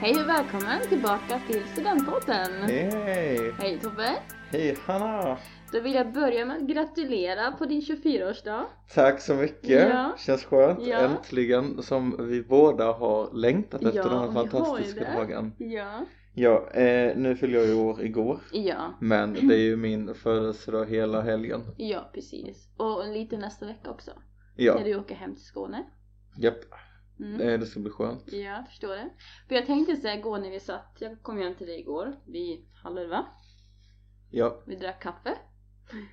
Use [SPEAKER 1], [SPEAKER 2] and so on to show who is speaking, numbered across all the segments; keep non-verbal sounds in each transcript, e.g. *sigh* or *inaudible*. [SPEAKER 1] Hej och välkommen tillbaka till Studentpodden!
[SPEAKER 2] Hej!
[SPEAKER 1] Hej Tobbe!
[SPEAKER 2] Hej Hanna!
[SPEAKER 1] Då vill jag börja med att gratulera på din 24-årsdag.
[SPEAKER 2] Tack så mycket!
[SPEAKER 1] Ja.
[SPEAKER 2] Känns skönt
[SPEAKER 1] Ja.
[SPEAKER 2] äntligen som vi båda har längtat efter
[SPEAKER 1] Ja,
[SPEAKER 2] den här
[SPEAKER 1] vi har ju
[SPEAKER 2] fantastiska
[SPEAKER 1] det.
[SPEAKER 2] dagen.
[SPEAKER 1] Ja.
[SPEAKER 2] Ja, eh, nu fyller jag ju år igår.
[SPEAKER 1] Ja,
[SPEAKER 2] Men
[SPEAKER 1] Mm.
[SPEAKER 2] det är ju min födelsedag hela helgen.
[SPEAKER 1] ja precis. Och lite nästa vecka också.
[SPEAKER 2] Ja,
[SPEAKER 1] När du åker hem till Skåne.
[SPEAKER 2] japp.
[SPEAKER 1] Mm.
[SPEAKER 2] Eh, det ska bli skönt.
[SPEAKER 1] Ja, jag förstår det. För jag tänkte så här igår när vi satt, jag kom ju hem till dig igår vid halv elva.
[SPEAKER 2] Ja,
[SPEAKER 1] Vi drack kaffe.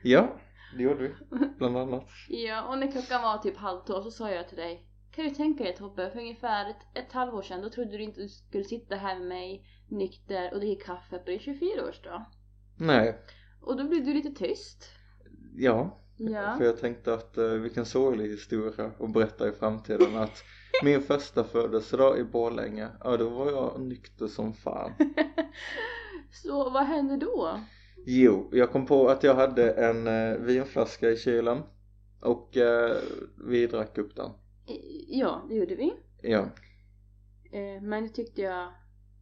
[SPEAKER 2] ja. Det gjorde vi. Bland annat.
[SPEAKER 1] Ja, och när klockan var typ halv tolv så sa jag till dig Kan du tänka dig Tobbe, för ungefär ett, ett halvår sedan då trodde du inte du skulle sitta här med mig nykter och dricka kaffe på din 24-årsdag.
[SPEAKER 2] Nej,
[SPEAKER 1] Och då blev du lite tyst.
[SPEAKER 2] ja.
[SPEAKER 1] Ja.
[SPEAKER 2] För jag tänkte att eh, vilken sorglig historia att berätta i framtiden att min första födelsedag i Borlänge, ja då var jag nykter som fan.
[SPEAKER 1] *laughs* Så vad hände då?
[SPEAKER 2] Jo, jag kom på att jag hade en eh, vinflaska i kylen och eh, vi drack upp den.
[SPEAKER 1] I- Ja, det gjorde vi.
[SPEAKER 2] Ja,
[SPEAKER 1] Eh, Men det tyckte jag...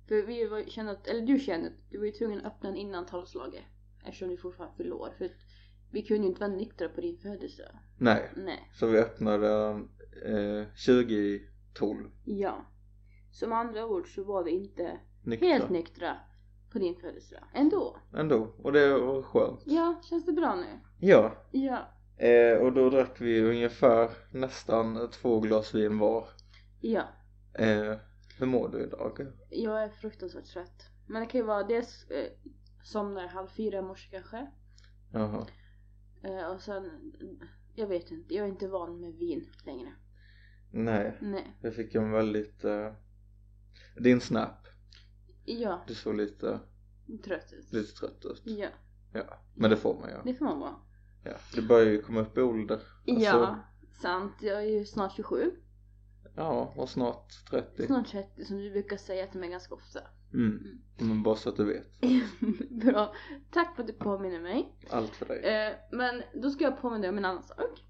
[SPEAKER 1] För vi var, kände att, eller du kände att du var ju tvungen att öppna den innan tolvslaget. Eftersom du fortfarande fyllde år. För att vi kunde ju inte vara nyktra på din födelsedag.
[SPEAKER 2] nej.
[SPEAKER 1] Nej.
[SPEAKER 2] Så vi öppnade eh, 2012
[SPEAKER 1] Ja. Som andra ord så var vi inte
[SPEAKER 2] nyktra.
[SPEAKER 1] helt nyktra på din födelsedag. Ändå.
[SPEAKER 2] Ändå, och det var skönt.
[SPEAKER 1] Ja, känns det bra nu?
[SPEAKER 2] Ja,
[SPEAKER 1] Ja.
[SPEAKER 2] eh, och då drack vi ungefär nästan två glas vin var.
[SPEAKER 1] Ja.
[SPEAKER 2] Eh, hur mår du idag?
[SPEAKER 1] Jag är fruktansvärt trött. Men det kan ju vara dels eh, somnar halv fyra i morse kanske.
[SPEAKER 2] Jaha.
[SPEAKER 1] Eh, och sen, jag vet inte, jag är inte van med vin längre.
[SPEAKER 2] Nej,
[SPEAKER 1] Nej.
[SPEAKER 2] jag fick en väldigt... Eh, din snap,
[SPEAKER 1] Ja,
[SPEAKER 2] du såg lite,
[SPEAKER 1] trött ut.
[SPEAKER 2] lite trött ut.
[SPEAKER 1] Ja,
[SPEAKER 2] Men det får man ju.
[SPEAKER 1] det får man vara.
[SPEAKER 2] Ja, det börjar ju komma upp i ålder. Alltså,
[SPEAKER 1] Ja, sant. Jag är ju snart 27.
[SPEAKER 2] Ja, och snart 30.
[SPEAKER 1] Snart 30 som du brukar säga till mig ganska ofta. *laughs*
[SPEAKER 2] Mm. Men bara så att du vet.
[SPEAKER 1] Bra. Tack för att du påminner mig.
[SPEAKER 2] Allt för dig.
[SPEAKER 1] Eh, men då ska jag påminna dig om en annan sak.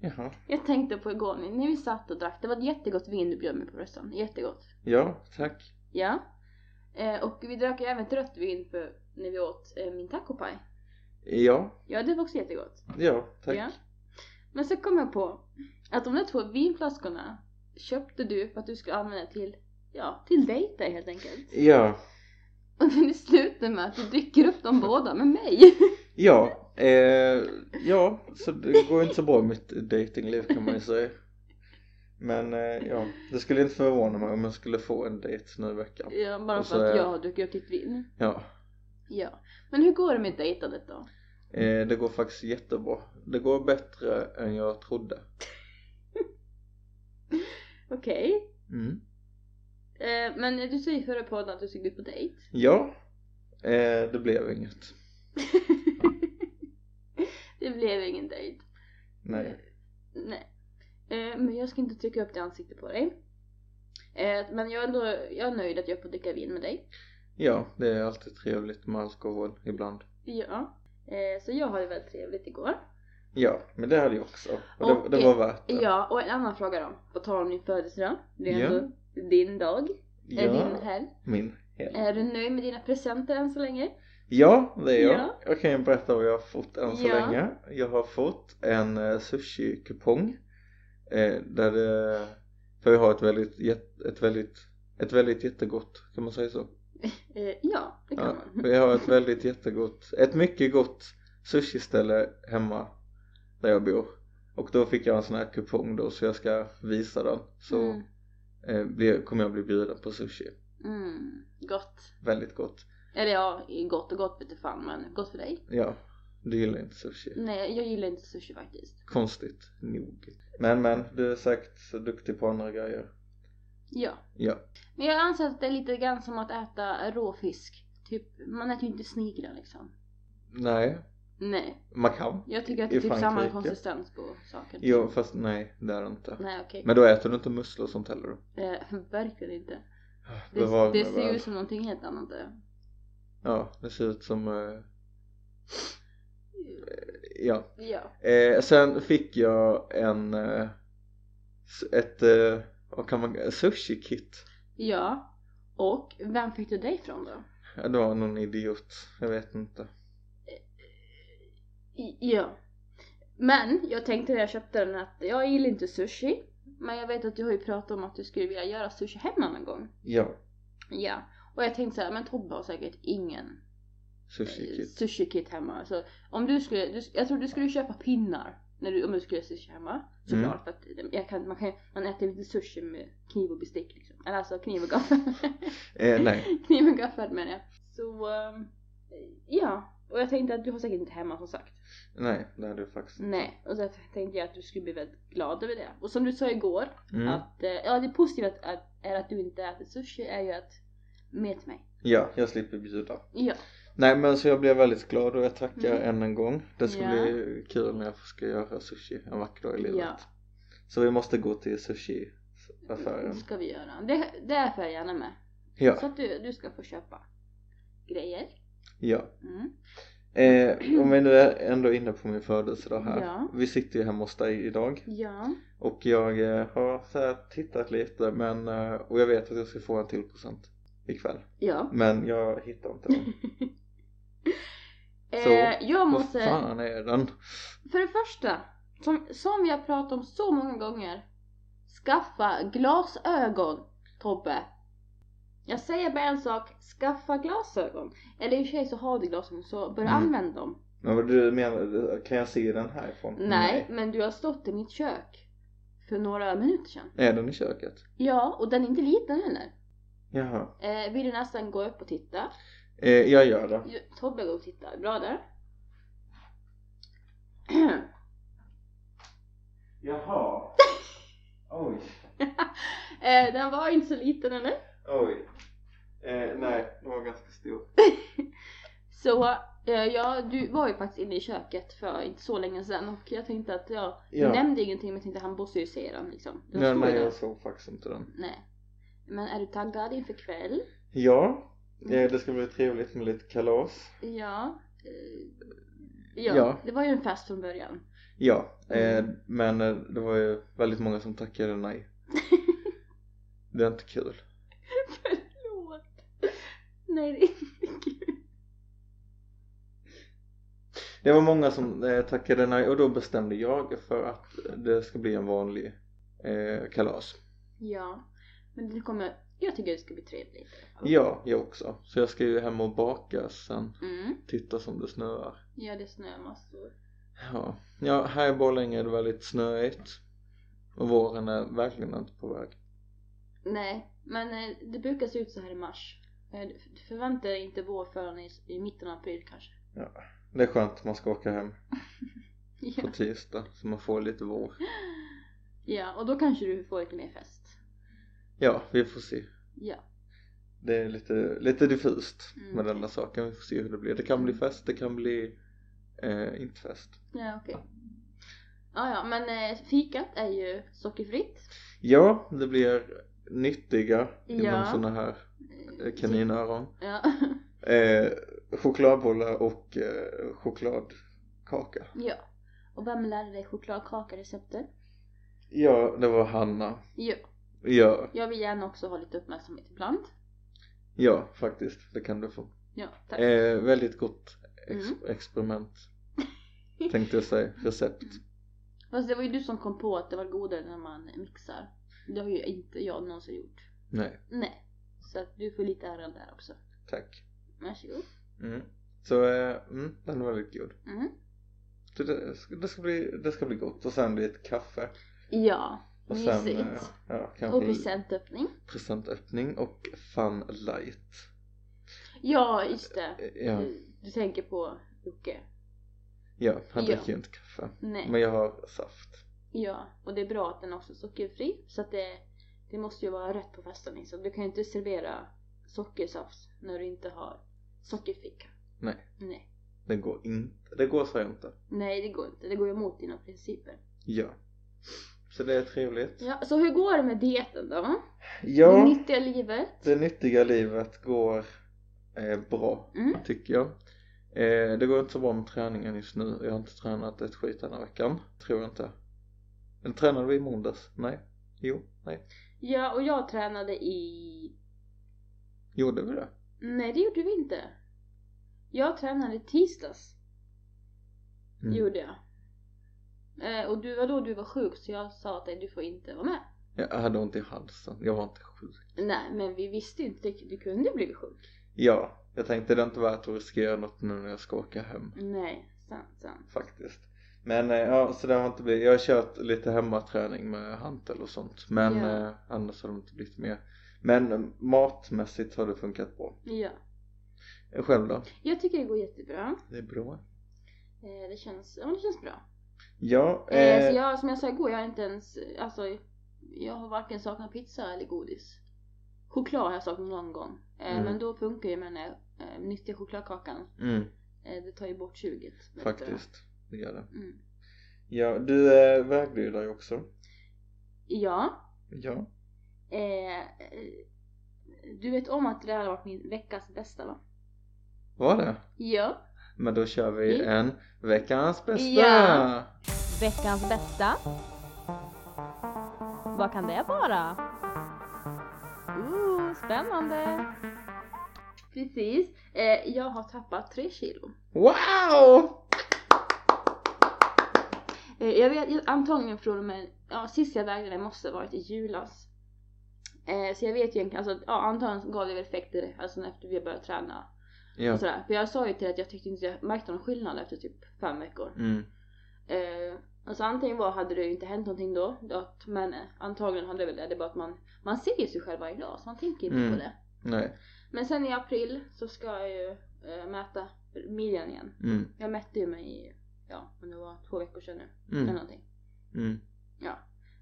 [SPEAKER 2] Jaha.
[SPEAKER 1] Jag tänkte på igår när när vi satt och drack, det var ett jättegott vin du bjöd mig på rösten. Jättegott.
[SPEAKER 2] Ja, tack.
[SPEAKER 1] Ja. Eh, och vi drack ju även ett rött vin för när vi åt eh, min tacopaj.
[SPEAKER 2] Ja,
[SPEAKER 1] Ja, det var också jättegott.
[SPEAKER 2] ja, tack.
[SPEAKER 1] Ja. Men så kom jag på att de där två vinflaskorna köpte du för att du skulle använda till, ja, till dejter helt enkelt.
[SPEAKER 2] Ja,
[SPEAKER 1] Och det slutar med att du dricker upp dem båda med *laughs* mig.
[SPEAKER 2] ja, eh, ja, så det går ju inte så bra i mitt datingliv kan man ju säga. Men eh, ja, det skulle inte förvåna mig om jag skulle få en dejt nu i veckan.
[SPEAKER 1] Ja, bara
[SPEAKER 2] Och så
[SPEAKER 1] för att
[SPEAKER 2] är-
[SPEAKER 1] jag har druckit upp ditt vin.
[SPEAKER 2] Ja,
[SPEAKER 1] Ja. Men hur går det med dejtandet då?
[SPEAKER 2] eh, det går faktiskt jättebra. Det går bättre än jag trodde.
[SPEAKER 1] Okej.
[SPEAKER 2] Mm.
[SPEAKER 1] Eh, men du säger i förra podden att du ska gå ut på dejt.
[SPEAKER 2] Ja, eh, det blev inget.
[SPEAKER 1] *laughs* det blev ingen dejt.
[SPEAKER 2] Nej.
[SPEAKER 1] Nej. Eh, men jag ska inte trycka upp det ansiktet på dig. Eh, men jag är, ändå, jag är nöjd att jag får dricka vin med dig.
[SPEAKER 2] Ja, det är alltid trevligt med alkohol ibland.
[SPEAKER 1] Ja. Eh, så jag hade väldigt trevligt igår.
[SPEAKER 2] Ja, men det hade jag också. Och
[SPEAKER 1] Och-
[SPEAKER 2] det, det var värt det.
[SPEAKER 1] Ja, och en annan fråga då. På tal om din födelsedag. Det är
[SPEAKER 2] Ja.
[SPEAKER 1] ändå din dag.
[SPEAKER 2] Ja,
[SPEAKER 1] Är din helg.
[SPEAKER 2] min helg.
[SPEAKER 1] Är du nöjd med dina presenter än så länge?
[SPEAKER 2] Ja, det är jag.
[SPEAKER 1] Ja.
[SPEAKER 2] Jag kan ju berätta vad jag har fått än så
[SPEAKER 1] Ja.
[SPEAKER 2] länge. Jag har fått en eh, sushi-kupong. Eh, där det... För jag har ett väldigt, jätt- ett väldigt, ett väldigt jättegott, kan man säga så?
[SPEAKER 1] Eh, ja, det kan
[SPEAKER 2] Ja,
[SPEAKER 1] man.
[SPEAKER 2] för jag har ett väldigt jättegott, ett mycket gott sushiställe hemma där jag bor. Och då fick jag en sån här kupong då så jag ska visa den. Så
[SPEAKER 1] Mm.
[SPEAKER 2] eh, blir- kommer jag bli bjuden på sushi.
[SPEAKER 1] Mm, gott.
[SPEAKER 2] Väldigt gott.
[SPEAKER 1] Eller ja, gott och gott vete fan men gott för dig.
[SPEAKER 2] Ja, du gillar inte sushi.
[SPEAKER 1] Nej, jag gillar inte sushi faktiskt.
[SPEAKER 2] Konstigt nog. Men men, du är säkert så duktig på andra grejer.
[SPEAKER 1] Ja.
[SPEAKER 2] Ja.
[SPEAKER 1] Men jag anser att det är lite grann som att äta rå fisk. Typ, man äter ju inte sniglar liksom.
[SPEAKER 2] Nej,
[SPEAKER 1] Nej.
[SPEAKER 2] man kan.
[SPEAKER 1] Jag tycker att
[SPEAKER 2] I
[SPEAKER 1] det är typ samma
[SPEAKER 2] Frankrike.
[SPEAKER 1] konsistens på saken.
[SPEAKER 2] Jo, fast nej, det är det inte.
[SPEAKER 1] Nej okej.
[SPEAKER 2] Men då äter du inte musslor och sånt heller då?
[SPEAKER 1] Eh, verkligen inte.
[SPEAKER 2] Ah,
[SPEAKER 1] Det,
[SPEAKER 2] bevare
[SPEAKER 1] det
[SPEAKER 2] mig
[SPEAKER 1] ser
[SPEAKER 2] väl.
[SPEAKER 1] ju ut som någonting helt annat. det.
[SPEAKER 2] Ja, det ser ut som... eh, Ja.
[SPEAKER 1] Ja.
[SPEAKER 2] Eh, sen fick jag en... Eh, s- ett... Eh, vad kan man... Sushi-kit.
[SPEAKER 1] Ja. Och vem fick du dig ifrån då?
[SPEAKER 2] Ja, det var någon idiot. Jag vet inte.
[SPEAKER 1] I- Ja. Men jag tänkte när jag köpte den att jag gillar inte sushi. Men jag vet att du har ju pratat om att du skulle vilja göra sushi hemma någon gång.
[SPEAKER 2] Ja.
[SPEAKER 1] Ja. Och jag tänkte så här, men Tobbe har säkert ingen
[SPEAKER 2] Sushi kit.
[SPEAKER 1] sushi kit hemma. Så om du skulle, du, jag tror du skulle köpa pinnar när du, om du skulle göra sushi hemma. Såklart för att jag kan, man, kan, man äter inte sushi med kniv och bestick liksom. Eller alltså kniv och gaffel. *laughs*
[SPEAKER 2] Eh, nej.
[SPEAKER 1] kniv och gaffel menar jag. Så ehm, ja. Och jag tänkte att du har säkert inte hemma som sagt.
[SPEAKER 2] Nej, det hade jag faktiskt inte.
[SPEAKER 1] Nej, och därför tänkte jag att du skulle bli väldigt glad över det. Och som du sa igår,
[SPEAKER 2] Mm.
[SPEAKER 1] att eh, ja, det positiva att, att, är att du inte äter sushi är ju att med till mig.
[SPEAKER 2] Ja, jag slipper bjuda.
[SPEAKER 1] Ja,
[SPEAKER 2] Nej men så jag blev väldigt glad och jag tackar
[SPEAKER 1] Mm.
[SPEAKER 2] än en gång. Det ska
[SPEAKER 1] Ja.
[SPEAKER 2] bli kul när jag ska göra sushi en vacker dag i livet.
[SPEAKER 1] Ja.
[SPEAKER 2] Så vi måste gå till sushiaffären.
[SPEAKER 1] det ska vi göra. Det, det är för jag gärna med. Mm. Så
[SPEAKER 2] Ja,
[SPEAKER 1] att du, du ska få köpa grejer.
[SPEAKER 2] ja.
[SPEAKER 1] Mm.
[SPEAKER 2] Eh, om vi nu är ändå inne på min födelsedag här.
[SPEAKER 1] Ja.
[SPEAKER 2] Vi sitter ju hemma hos dig idag
[SPEAKER 1] Ja.
[SPEAKER 2] och jag eh, har så här tittat lite men eh, och jag vet att jag ska få en till procent ikväll.
[SPEAKER 1] Ja.
[SPEAKER 2] Men jag hittar inte den. Så,
[SPEAKER 1] Eh, jag
[SPEAKER 2] Vad
[SPEAKER 1] måste,
[SPEAKER 2] fan är den?
[SPEAKER 1] för det första, som, som vi har pratat om så många gånger. Skaffa glasögon, Tobbe. Jag säger bara en sak, skaffa glasögon. Eller i och för sig så har du glasögon så börja
[SPEAKER 2] Mm.
[SPEAKER 1] använda dem.
[SPEAKER 2] Men vad du menar, kan jag se den härifrån?
[SPEAKER 1] Nej, men du har stått i mitt kök för några minuter sedan.
[SPEAKER 2] Är den i köket?
[SPEAKER 1] Ja, och den är inte liten heller.
[SPEAKER 2] Jaha.
[SPEAKER 1] Eh, vill du nästan gå upp och titta?
[SPEAKER 2] Eh, jag gör det.
[SPEAKER 1] Jo, Tobbe går och tittar, bra där. *clears throat*
[SPEAKER 2] Jaha.
[SPEAKER 1] *laughs*
[SPEAKER 2] Oj.
[SPEAKER 1] eh, den var inte så liten eller?
[SPEAKER 2] Oj. Eh, nej, det var ganska stor.
[SPEAKER 1] Så eh, ja, du var ju faktiskt inne i köket för inte så länge sedan och jag tänkte att jag
[SPEAKER 2] Ja.
[SPEAKER 1] nämnde ingenting men jag tänkte han måste ju se den liksom. Den
[SPEAKER 2] Nej,
[SPEAKER 1] står ju
[SPEAKER 2] nej,
[SPEAKER 1] där.
[SPEAKER 2] jag såg faktiskt inte den.
[SPEAKER 1] nej. Men är du taggad inför kväll?
[SPEAKER 2] Ja. Eh, det ska bli trevligt med lite kalas.
[SPEAKER 1] Ja. Eh, ja.
[SPEAKER 2] Ja.
[SPEAKER 1] Det var ju en fest från början.
[SPEAKER 2] Ja, eh,
[SPEAKER 1] Mm.
[SPEAKER 2] men eh, det var ju väldigt många som
[SPEAKER 1] *laughs*
[SPEAKER 2] tackade nej. Det är inte kul.
[SPEAKER 1] Förlåt. *laughs* Nej, det är inte kul.
[SPEAKER 2] Det var många som eh, tackade nej och då bestämde jag för att det ska bli en vanlig eh, kalas.
[SPEAKER 1] Ja, men det kommer, jag tycker det ska bli trevligt.
[SPEAKER 2] Ja, jag också. Så jag ska ju hem och baka sen.
[SPEAKER 1] Mm.
[SPEAKER 2] Titta som det snöar.
[SPEAKER 1] Ja, det snöar massor.
[SPEAKER 2] Ja, ja här i Borlänge är det väldigt snöigt och våren är verkligen inte på väg.
[SPEAKER 1] Nej, men eh, det brukar se ut så här i mars. Eh, du Förvänta dig inte vår förrän i, i mitten av april kanske.
[SPEAKER 2] Det är skönt att man ska åka hem på
[SPEAKER 1] *laughs* Ja.
[SPEAKER 2] tisdag så man får lite vår.
[SPEAKER 1] ja, och då kanske du får lite mer fest.
[SPEAKER 2] Ja, vi får se.
[SPEAKER 1] Ja.
[SPEAKER 2] Det är lite, lite diffust
[SPEAKER 1] Mm.
[SPEAKER 2] med den där saken. Vi får se hur det blir. Det kan bli fest, det kan bli eh, inte fest.
[SPEAKER 1] Ja, okej. Ja, ja, men eh, fikat är ju sockerfritt.
[SPEAKER 2] Ja, det blir nyttiga inom
[SPEAKER 1] Ja.
[SPEAKER 2] såna här
[SPEAKER 1] Eh,
[SPEAKER 2] eh, kaninöron.
[SPEAKER 1] Ja. *laughs*
[SPEAKER 2] Eh, chokladbollar och eh, chokladkaka.
[SPEAKER 1] ja. Och vem lärde dig chokladkaka-receptet?
[SPEAKER 2] Ja, det var Hanna.
[SPEAKER 1] Ja.
[SPEAKER 2] Ja,
[SPEAKER 1] Jag vill gärna också ha lite uppmärksamhet ibland.
[SPEAKER 2] ja faktiskt. Det kan du få.
[SPEAKER 1] Ja, tack.
[SPEAKER 2] Eh, väldigt gott ex-
[SPEAKER 1] Mm.
[SPEAKER 2] experiment *laughs* tänkte jag säga, recept.
[SPEAKER 1] Fast det var ju du som kom på att det var godare när man mixar. Det har ju inte jag någonsin gjort.
[SPEAKER 2] Nej,
[SPEAKER 1] Nej. Så att du får lite äran där också.
[SPEAKER 2] tack.
[SPEAKER 1] Varsågod.
[SPEAKER 2] Mm. Så eh, mm, den var väldigt god.
[SPEAKER 1] Mm.
[SPEAKER 2] Så det, det, ska bli, det ska bli gott och sen lite kaffe.
[SPEAKER 1] Ja,
[SPEAKER 2] Och sen
[SPEAKER 1] mysigt.
[SPEAKER 2] eh, ja, kanske
[SPEAKER 1] och presentöppning.
[SPEAKER 2] presentöppning och fun light.
[SPEAKER 1] Ja, just det.
[SPEAKER 2] Eh, Ja,
[SPEAKER 1] Du, du tänker på Jocke.
[SPEAKER 2] ja han
[SPEAKER 1] Ja.
[SPEAKER 2] dricker ju inte kaffe.
[SPEAKER 1] Nej.
[SPEAKER 2] Men jag har saft.
[SPEAKER 1] Ja, och det är bra att den också är sockerfri. Så att det, det måste ju vara rätt på festen liksom. Du kan ju inte servera sockersaft när du inte har sockerficka.
[SPEAKER 2] Nej.
[SPEAKER 1] Nej,
[SPEAKER 2] Det går inte. Det går så inte.
[SPEAKER 1] Nej det går inte. Det går ju emot dina principer.
[SPEAKER 2] Ja. Så det är trevligt.
[SPEAKER 1] Ja, så hur går det med dieten då? Det
[SPEAKER 2] Ja,
[SPEAKER 1] nyttiga livet?
[SPEAKER 2] det nyttiga livet går eh, bra.
[SPEAKER 1] Mm.
[SPEAKER 2] tycker jag. Eh, det går inte så bra med träningen just nu. Jag har inte tränat ett skit den här veckan. Tror jag inte. Eller tränade vi i måndags? Nej. Jo, nej.
[SPEAKER 1] Ja, och jag tränade i
[SPEAKER 2] Gjorde vi det?
[SPEAKER 1] Nej, det gjorde vi inte. Jag tränade i tisdags,
[SPEAKER 2] Mm.
[SPEAKER 1] gjorde jag. Eh, och du var då du var sjuk så jag sa att du får inte vara med.
[SPEAKER 2] Jag hade ont i halsen, jag var inte sjuk.
[SPEAKER 1] Nej, men vi visste ju inte riktigt, du kunde ju blivit sjuk.
[SPEAKER 2] Ja, jag tänkte det är inte värt att riskera något nu när jag ska åka hem
[SPEAKER 1] Nej, sant, sant.
[SPEAKER 2] faktiskt. Men eh, ja, så det har inte blivit. Jag har kört lite hemmaträning med hantel och sånt. Men
[SPEAKER 1] Ja.
[SPEAKER 2] eh, annars har det inte blivit mer. Men eh, matmässigt har det funkat bra.
[SPEAKER 1] Ja.
[SPEAKER 2] Eh, Själv då?
[SPEAKER 1] Jag tycker det går jättebra.
[SPEAKER 2] Det är bra.
[SPEAKER 1] Eh, det känns, ja men det känns bra.
[SPEAKER 2] Ja,
[SPEAKER 1] Eh,
[SPEAKER 2] eh,
[SPEAKER 1] så jag, som jag sa igår, jag har inte ens, alltså jag har varken saknat pizza eller godis. Choklad har jag saknat någon gång. Eh,
[SPEAKER 2] Mm.
[SPEAKER 1] Men då funkar ju med den här eh, nyttiga chokladkakan.
[SPEAKER 2] mm,
[SPEAKER 1] Eh, det tar ju bort tjuget. vet du.
[SPEAKER 2] faktiskt. Det gör det.
[SPEAKER 1] Mm.
[SPEAKER 2] Ja, du eh, vägde ju dig också.
[SPEAKER 1] Ja.
[SPEAKER 2] Ja.
[SPEAKER 1] Eh, eh, du vet om att det här har varit min veckas bästa va?
[SPEAKER 2] Var det?
[SPEAKER 1] Ja.
[SPEAKER 2] Men då kör vi
[SPEAKER 1] Mm.
[SPEAKER 2] en veckans bästa!
[SPEAKER 1] Ja. Veckans bästa? Vad kan det vara? Ooh, spännande! Precis. Eh, jag har tappat tre kilo.
[SPEAKER 2] Wow!
[SPEAKER 1] Eh, jag vet jag, antagligen från och med, ja sist jag vägde det måste ha varit i julas. Eh, så jag vet ju egentligen, alltså ja, antagligen gav det väl effekter alltså efter vi började träna.
[SPEAKER 2] Ja.
[SPEAKER 1] Och sådär. För jag sa ju till att jag tyckte inte jag märkte någon skillnad efter typ fem veckor.
[SPEAKER 2] Mm.
[SPEAKER 1] Eh, alltså antingen var, hade det ju inte hänt någonting då, då att, men eh, antagligen hade det väl det. Det är bara att man, man ser ju sig själv varje dag så man tänker inte
[SPEAKER 2] Mm.
[SPEAKER 1] på det.
[SPEAKER 2] Nej.
[SPEAKER 1] Men sen i april så ska jag ju eh, mäta midjan igen.
[SPEAKER 2] Mm.
[SPEAKER 1] Jag mätte ju mig i, ja men det var två veckor sedan nu. Eller
[SPEAKER 2] Mm.
[SPEAKER 1] någonting.
[SPEAKER 2] Mm.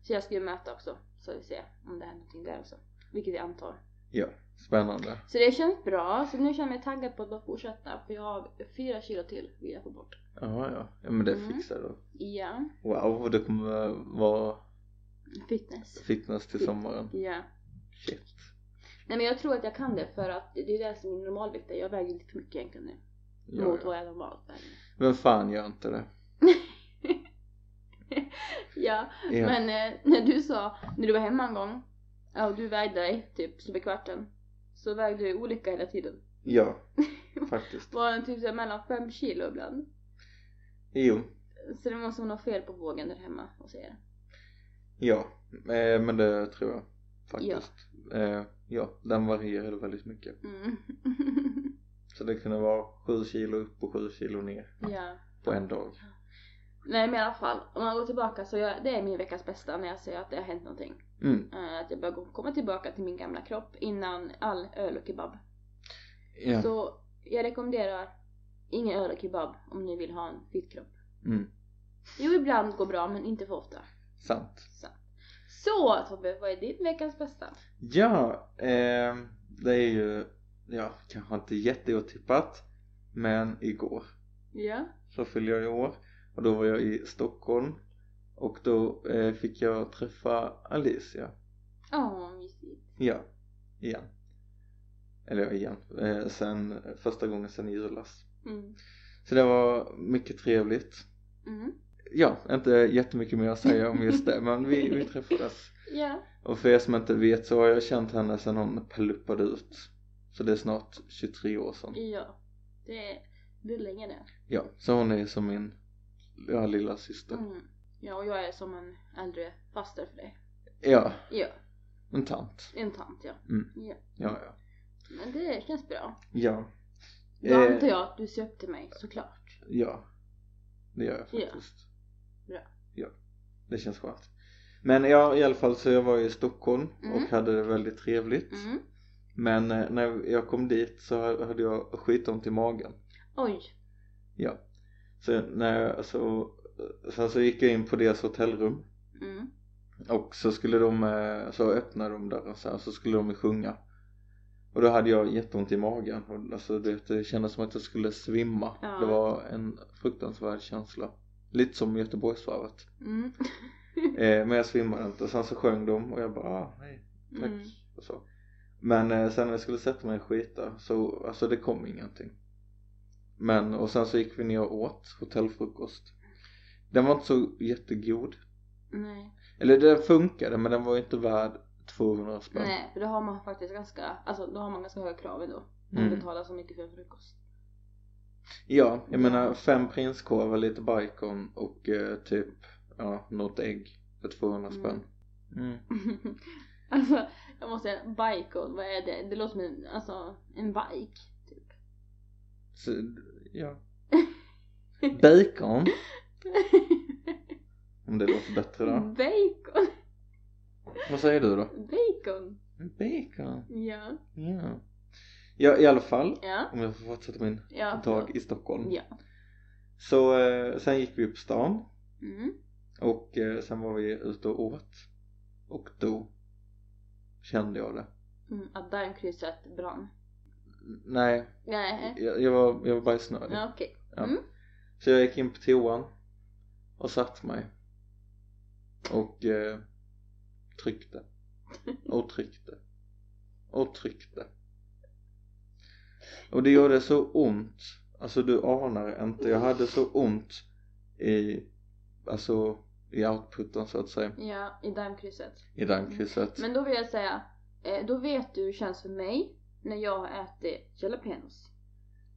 [SPEAKER 1] Så jag ska ju mäta också. Så vi ser om det händer någonting där också. Vilket jag antar.
[SPEAKER 2] Spännande.
[SPEAKER 1] Så det känns bra. Så nu känner jag mig taggad på att bara fortsätta. För jag har fyra kilo till vill jag få bort.
[SPEAKER 2] Ja, ja. Ja, men det
[SPEAKER 1] Mm.
[SPEAKER 2] fixar du.
[SPEAKER 1] Ja.
[SPEAKER 2] Wow, du kommer vara
[SPEAKER 1] Fitness.
[SPEAKER 2] fitness till sommaren.
[SPEAKER 1] Ja.
[SPEAKER 2] Shit.
[SPEAKER 1] Nej men jag tror att jag kan det för att det är det som är min normalvikt är. Jag väger lite för mycket egentligen nu.
[SPEAKER 2] Ja,
[SPEAKER 1] mot
[SPEAKER 2] ja.
[SPEAKER 1] vad jag normalt väger.
[SPEAKER 2] Men fan gör inte det.
[SPEAKER 1] Ja.
[SPEAKER 2] Ja.
[SPEAKER 1] Men eh, när du sa, när du var hemma en gång ja, och du vägde dig typ så vid kvarten. Så vägde du olika hela tiden. *laughs*
[SPEAKER 2] ja. Faktiskt.
[SPEAKER 1] Var den typ så här mellan 5 kilo ibland.
[SPEAKER 2] Jo.
[SPEAKER 1] Så det måste vara något fel på vågen där hemma hos er.
[SPEAKER 2] Ja. Eh, men det tror jag. Faktiskt. Ja. Eh, ja. Den varierade väldigt mycket.
[SPEAKER 1] Mm. *laughs*
[SPEAKER 2] Så det kunde vara 7 kilo upp och 7 kilo ner
[SPEAKER 1] ja.
[SPEAKER 2] på en dag.
[SPEAKER 1] Nej men i alla fall, om man går tillbaka så jag, det är min veckas bästa när jag ser att det har hänt någonting.
[SPEAKER 2] Mm.
[SPEAKER 1] Eh, att jag börjar gå- komma tillbaka till min gamla kropp innan all öl och kebab.
[SPEAKER 2] Ja.
[SPEAKER 1] Så jag rekommenderar ingen öl och kebab om ni vill ha en fit kropp.
[SPEAKER 2] Mm.
[SPEAKER 1] Jo, ibland går bra men inte för ofta.
[SPEAKER 2] Sant.
[SPEAKER 1] Så Tobbe, vad är din veckans bästa?
[SPEAKER 2] Ja, eh, det är ju, ja, kanske inte jätteotippat. Men igår
[SPEAKER 1] Ja.
[SPEAKER 2] så fyller jag i år och då var jag i Stockholm och då eh, fick jag träffa Alicia.
[SPEAKER 1] Åh, vad mysigt.
[SPEAKER 2] Ja, igen. Eller ja, igen. Eh, sen första gången sen i julas.
[SPEAKER 1] Mm.
[SPEAKER 2] Så det var mycket trevligt.
[SPEAKER 1] Mm.
[SPEAKER 2] Ja, inte jättemycket mer att säga om just det men vi, vi träffades.
[SPEAKER 1] Ja.
[SPEAKER 2] Och för er som inte vet så har jag känt henne sedan hon pluppade ut. Så det är snart 23 år sedan.
[SPEAKER 1] Ja. Det är, det är länge det.
[SPEAKER 2] Ja, så hon är som min ja, lilla syster.
[SPEAKER 1] Mm. Ja, och jag är som en äldre faster för dig.
[SPEAKER 2] Ja,
[SPEAKER 1] Ja,
[SPEAKER 2] en tant.
[SPEAKER 1] en tant ja.
[SPEAKER 2] Ja, ja.
[SPEAKER 1] Men det känns bra.
[SPEAKER 2] Ja. Eh,
[SPEAKER 1] Då antar jag att du köpte mig såklart.
[SPEAKER 2] Ja. Det gör jag
[SPEAKER 1] Ja.
[SPEAKER 2] faktiskt.
[SPEAKER 1] Bra.
[SPEAKER 2] Ja. Det känns skönt. Men ja, i alla fall så jag var i Stockholm
[SPEAKER 1] Mm.
[SPEAKER 2] och hade det väldigt trevligt.
[SPEAKER 1] Mm.
[SPEAKER 2] Men eh, när jag kom dit så hade jag skitont i magen.
[SPEAKER 1] Oj.
[SPEAKER 2] Ja. Så när jag, så, sen så gick jag in på deras hotellrum
[SPEAKER 1] Mm.
[SPEAKER 2] och så skulle de, eh, så öppnade de dörren så här så skulle de sjunga. Och då hade jag jätteont i magen och alltså du vet, det kändes som att jag skulle svimma.
[SPEAKER 1] Ja.
[SPEAKER 2] Det var en fruktansvärd känsla. Lite
[SPEAKER 1] *laughs*
[SPEAKER 2] som Göteborgsvarvet.
[SPEAKER 1] Mm.
[SPEAKER 2] Eh, men jag svimmade inte. Sen så sjöng de och jag bara, ah, nej tack
[SPEAKER 1] Mm.
[SPEAKER 2] och så. Men eh, sen när jag skulle sätta mig och skita så, alltså det kom ingenting. Men och sen så gick vi ner och åt hotellfrukost. Den var inte så jättegod.
[SPEAKER 1] Nej.
[SPEAKER 2] Eller den funkade men den var ju inte värd 200 spänn.
[SPEAKER 1] Nej, för då har man faktiskt ganska, alltså då har man ganska höga krav ändå. Man
[SPEAKER 2] Mm.
[SPEAKER 1] betalar så mycket för en frukost.
[SPEAKER 2] Ja, jag menar fem prinskorvar, lite bacon och eh, typ ja, något ägg för 200
[SPEAKER 1] Mm.
[SPEAKER 2] spänn. Mm.
[SPEAKER 1] *laughs* alltså, jag måste säga, bacon, vad är det? Det låter som en, alltså, en bike. Typ.
[SPEAKER 2] Så, ja. *laughs* Bacon, om det låter bättre
[SPEAKER 1] Mm. *laughs*
[SPEAKER 2] då.
[SPEAKER 1] bacon,
[SPEAKER 2] Vad säger du då?
[SPEAKER 1] bacon.
[SPEAKER 2] Bacon,
[SPEAKER 1] Ja,
[SPEAKER 2] ja. Ja, i alla fall.
[SPEAKER 1] ja,
[SPEAKER 2] Om jag får fortsätta min
[SPEAKER 1] ja.
[SPEAKER 2] dag i Stockholm.
[SPEAKER 1] Ja.
[SPEAKER 2] Så eh, sen gick vi upp stan
[SPEAKER 1] Mm.
[SPEAKER 2] och eh, sen var vi ute och åt. Och då kände jag det.
[SPEAKER 1] Mm, att daimkrysset brann.
[SPEAKER 2] N- Nej,
[SPEAKER 1] Nej,
[SPEAKER 2] jag, jag var, jag var bajsnödig.
[SPEAKER 1] ja, okej.
[SPEAKER 2] Så jag gick in på toan och satt mig. Och eh,
[SPEAKER 1] *laughs*
[SPEAKER 2] tryckte. Och tryckte. Och tryckte. Och det gjorde så ont. Alltså du anar inte. Jag hade så ont i, alltså i outputen så att säga.
[SPEAKER 1] Ja, i daimkrysset.
[SPEAKER 2] I dammkrysset.
[SPEAKER 1] Mm. Men då vill jag säga, eh, då vet du hur det känns för mig när jag har ätit jalapenos.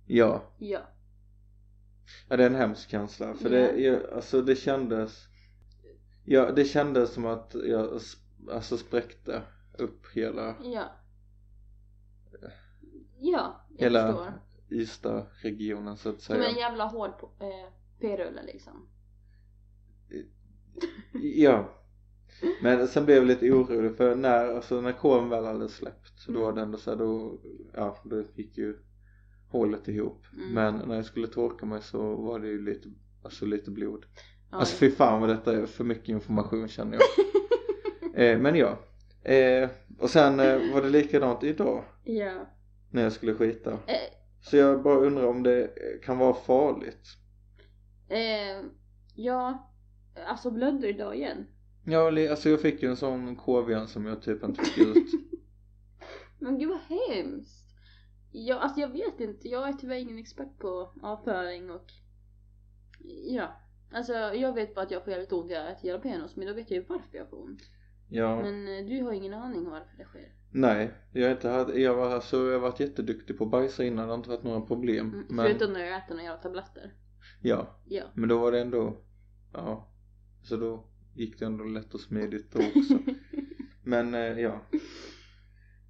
[SPEAKER 2] Ja.
[SPEAKER 1] Ja.
[SPEAKER 2] Ja det är en hemsk känsla för det, jag, alltså det kändes ja, det kändes som att jag s- alltså spräckte upp hela
[SPEAKER 1] Ja. Ja, jag
[SPEAKER 2] Eh. Hela-
[SPEAKER 1] förstår.
[SPEAKER 2] Ystad-regionen så att
[SPEAKER 1] Som en
[SPEAKER 2] säga
[SPEAKER 1] jävla hård po- eh, p-rulle liksom.
[SPEAKER 2] Ja Men sen blev jag lite orolig för när, alltså när kåren väl hade släppt så då var det ändå så här, då, ja då gick ju hålet ihop
[SPEAKER 1] Mm.
[SPEAKER 2] Men när jag skulle torka mig så var det ju lite, alltså lite blod
[SPEAKER 1] Ja,
[SPEAKER 2] Alltså fy fan vad detta är för mycket information känner
[SPEAKER 1] *laughs*
[SPEAKER 2] jag eh, Men ja eh, Och sen eh, var det likadant idag
[SPEAKER 1] ja.
[SPEAKER 2] när jag skulle skita
[SPEAKER 1] Eh.
[SPEAKER 2] Så jag bara undrar om det eh, kan vara farligt
[SPEAKER 1] Eh, ja, alltså blödde du idag igen?
[SPEAKER 2] Ja eller, alltså jag fick ju en sån KVN som jag typ inte fick
[SPEAKER 1] *laughs*
[SPEAKER 2] ut
[SPEAKER 1] Men gud vad hemskt! Ja, alltså jag vet inte, jag är tyvärr ingen expert på avföring och ja. Alltså jag vet bara att jag får jävligt ont när jag äter jalapenos men då vet jag ju varför jag får ont.
[SPEAKER 2] Ja
[SPEAKER 1] Men eh, du har ingen aning om varför det sker.
[SPEAKER 2] Nej jag har inte hade, jag var alltså jag har varit jätteduktig på att bajsa innan det har inte varit några problem
[SPEAKER 1] Mm,
[SPEAKER 2] men
[SPEAKER 1] Förutom när jag äter några jävla tabletter.
[SPEAKER 2] Ja
[SPEAKER 1] Ja.
[SPEAKER 2] men då var det ändå Ja Så då gick det ändå lätt och smidigt då också Men eh, ja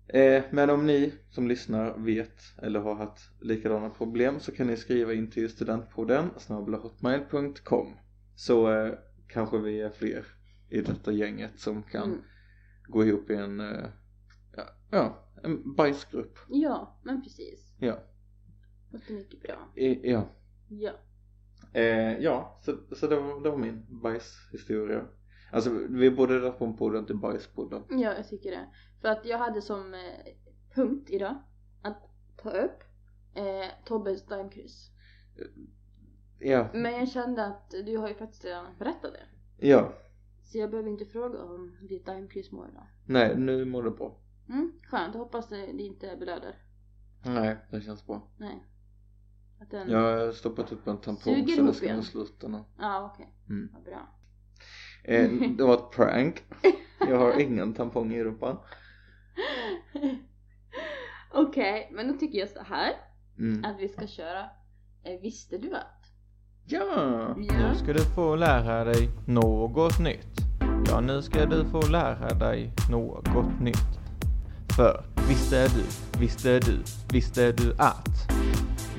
[SPEAKER 2] eh, Men om ni som lyssnar vet eller har haft likadana problem så kan ni skriva in till studentpodden snabelahotmail.com Så eh, kanske vi är fler i detta gänget som kan
[SPEAKER 1] Mm.
[SPEAKER 2] gå ihop i en eh, ja, ja, en bajsgrupp
[SPEAKER 1] Ja, men precis.
[SPEAKER 2] Ja.
[SPEAKER 1] Låter mycket bra.
[SPEAKER 2] I, Ja,
[SPEAKER 1] Ja.
[SPEAKER 2] eh, ja så, så det, var, det var min bajshistoria Alltså vi borde döpa om podden till bajspodden
[SPEAKER 1] Ja, jag tycker det. För att jag hade som eh, punkt idag att ta upp eh, Tobbes daimkryss.
[SPEAKER 2] Ja,
[SPEAKER 1] Men jag kände att du har ju faktiskt redan berättat det.
[SPEAKER 2] ja,
[SPEAKER 1] Så jag behöver inte fråga om ditt daimkryss mår idag.
[SPEAKER 2] nej nu mår det bra
[SPEAKER 1] Mm, skönt. Jag hoppas det det inte blöder.
[SPEAKER 2] Nej, det känns bra
[SPEAKER 1] Nej. Att den...
[SPEAKER 2] Jag har stoppat upp en tampong
[SPEAKER 1] Suger
[SPEAKER 2] så det
[SPEAKER 1] ihop
[SPEAKER 2] ska
[SPEAKER 1] igen.
[SPEAKER 2] nog sluta nu.
[SPEAKER 1] Ja, okej.
[SPEAKER 2] Mm.
[SPEAKER 1] Vad bra.
[SPEAKER 2] Eh, det var ett prank. Jag har ingen tampong i rumpan.
[SPEAKER 1] okej, men då tycker jag så här
[SPEAKER 2] Mm.
[SPEAKER 1] att vi ska köra eh, Visste du att?
[SPEAKER 2] Ja!
[SPEAKER 1] Ja.
[SPEAKER 2] ska du få lära dig något nytt. Ja, nu ska du få lära dig något nytt. För visste du, visste du, visste du att?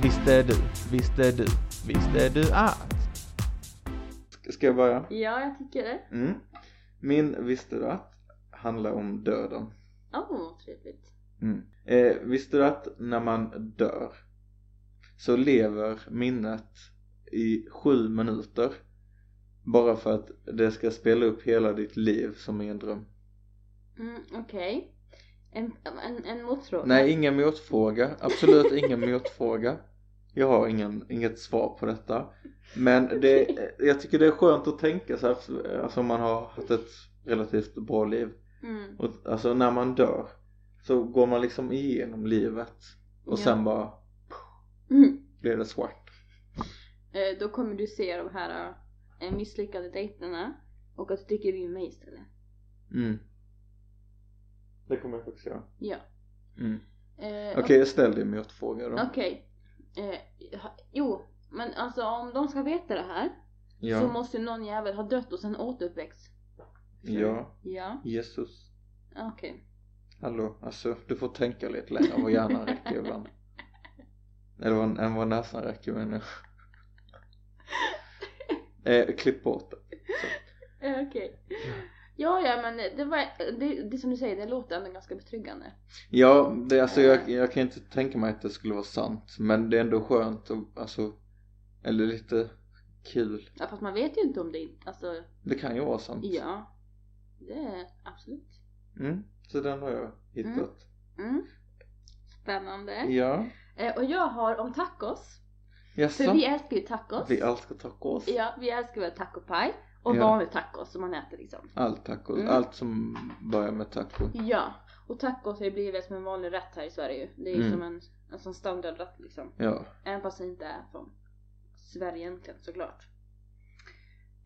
[SPEAKER 2] Visste du, visste du, visste du att? Ska jag börja?
[SPEAKER 1] Ja, jag tycker det.
[SPEAKER 2] Mm. Min visste du att handlar om döden.
[SPEAKER 1] Åh, oh, trevligt.
[SPEAKER 2] Mm. Eh, visste du att när man dör så lever minnet i sju minuter bara för att det ska spela upp hela ditt liv som i en dröm.
[SPEAKER 1] Mm, okej. En, en, en motfråga.
[SPEAKER 2] Nej, ingen motfråga. Absolut ingen motfråga. Jag har ingen, inget svar på detta. Men det, eh, jag tycker det är skönt att tänka så här, för- alltså om man har haft ett relativt bra liv.
[SPEAKER 1] Mm.
[SPEAKER 2] Och, alltså när man dör så går man liksom igenom livet och
[SPEAKER 1] Ja.
[SPEAKER 2] sen bara
[SPEAKER 1] Mm.
[SPEAKER 2] blir det svart.
[SPEAKER 1] Eh, Då kommer du se de här eh, misslyckade dejterna och att du tycker vi är med istället.
[SPEAKER 2] Mm. Det kommer jag faktiskt göra.
[SPEAKER 1] Ja.
[SPEAKER 2] Mm.
[SPEAKER 1] Eh,
[SPEAKER 2] Okej, ställ dig mjötfråga då.
[SPEAKER 1] Okej. Eh, ha- jo, men alltså om de ska veta det här
[SPEAKER 2] Ja.
[SPEAKER 1] så måste ju någon jävel ha dött och sen återuppväxt.
[SPEAKER 2] ja.
[SPEAKER 1] Ja,
[SPEAKER 2] Jesus.
[SPEAKER 1] okej.
[SPEAKER 2] Hallå, alltså du får tänka lite längre än vad hjärnan
[SPEAKER 1] *laughs*
[SPEAKER 2] räcker ibland. Eller vad- än vad näsan räcker menar jag. *laughs* eh, klipp bort det.
[SPEAKER 1] Eh, Okej. Ja, ja, men det, var, det, det som du säger, det låter ändå ganska betryggande.
[SPEAKER 2] Ja, det, alltså jag, jag kan inte tänka mig att det skulle vara sant. Men det är ändå skönt och alltså, eller lite kul.
[SPEAKER 1] Ja, fast man vet ju inte om det inte, alltså,
[SPEAKER 2] Det kan ju vara sant.
[SPEAKER 1] ja. Det är absolut.
[SPEAKER 2] Mm, så den har jag hittat.
[SPEAKER 1] Mm. Spännande.
[SPEAKER 2] Ja.
[SPEAKER 1] Eh, och jag har om tacos. För
[SPEAKER 2] Jaså?
[SPEAKER 1] vi älskar ju tacos.
[SPEAKER 2] Vi älskar tacos.
[SPEAKER 1] Ja, vi älskar väl tacopaj och
[SPEAKER 2] Ja.
[SPEAKER 1] vanlig tacos som man äter liksom.
[SPEAKER 2] Allt tacos,
[SPEAKER 1] Mm.
[SPEAKER 2] allt som börjar med taco.
[SPEAKER 1] Ja, och tacos har ju blivit som en vanlig rätt här i Sverige ju. Det är ju
[SPEAKER 2] Mm.
[SPEAKER 1] som en, en sån standardrätt liksom.
[SPEAKER 2] Ja.
[SPEAKER 1] Även fast den inte är från Sverige egentligen såklart.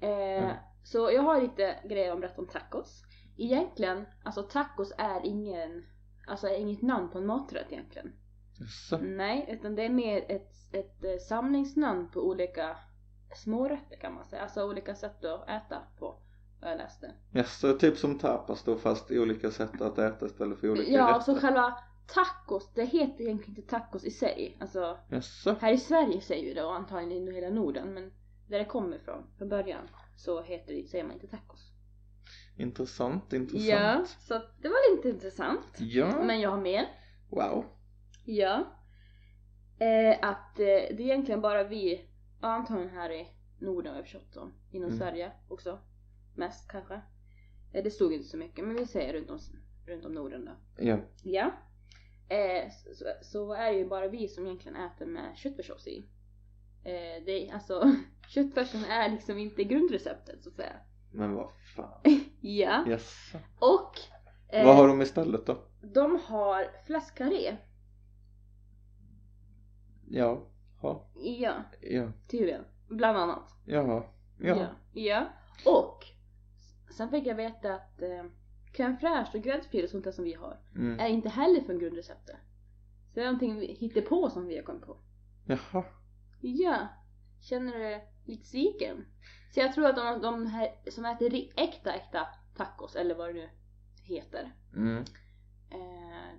[SPEAKER 1] Eh,
[SPEAKER 2] Mm.
[SPEAKER 1] Så jag har lite grejer om rätt om tacos. Egentligen, alltså tacos är ingen, alltså är inget namn på en maträtt egentligen.
[SPEAKER 2] Jaså?
[SPEAKER 1] Nej, utan det är mer ett, ett eh, samlingsnamn på olika smårätter kan man säga. Alltså olika sätt att äta på. har Jag läste.
[SPEAKER 2] Jaså, typ som tapas då fast i olika sätt att äta istället för olika
[SPEAKER 1] Ja,
[SPEAKER 2] rätter.
[SPEAKER 1] så själva tacos, det heter egentligen inte tacos i sig. Alltså,
[SPEAKER 2] Jaså?
[SPEAKER 1] här i Sverige säger vi det och antagligen i hela Norden, men där det kommer ifrån från början så heter det, säger man inte tacos.
[SPEAKER 2] Intressant, intressant.
[SPEAKER 1] Ja, så att det var lite intressant.
[SPEAKER 2] Ja.
[SPEAKER 1] Men jag har mer.
[SPEAKER 2] Wow.
[SPEAKER 1] Ja. Eh, att eh, det är egentligen bara vi, ja, antagligen här i Norden har jag förstått som, inom
[SPEAKER 2] Mm.
[SPEAKER 1] Sverige också. Mest kanske. Eh, det stod inte så mycket men vi säger runt om, runt om Norden då.
[SPEAKER 2] Ja.
[SPEAKER 1] Ja. Eh, så, så, så är det ju bara vi som egentligen äter med köttfärssås i. Eh, det är, alltså, *laughs* köttfärsen är liksom inte grundreceptet så att säga.
[SPEAKER 2] Men vad fan.
[SPEAKER 1] Ja.
[SPEAKER 2] Jaså?
[SPEAKER 1] Och eh,
[SPEAKER 2] Vad har de istället då?
[SPEAKER 1] de har fläskkarré.
[SPEAKER 2] Ja. Ha.
[SPEAKER 1] Ja,
[SPEAKER 2] Ja.
[SPEAKER 1] tydligen. Bland annat.
[SPEAKER 2] Jaha. Ja.
[SPEAKER 1] Ja. ja. Och sen fick jag veta att eh, crème fraîche och gräddfil och sånt där som vi har
[SPEAKER 2] Mm.
[SPEAKER 1] är inte heller från grundreceptet. Så det är någonting vi hittar på som vi har kommit på.
[SPEAKER 2] Jaha.
[SPEAKER 1] Ja. Känner du dig lite sviken? Så jag tror att de, de här som äter ri- äkta, äkta tacos eller vad det nu heter.
[SPEAKER 2] Mm.
[SPEAKER 1] Eh,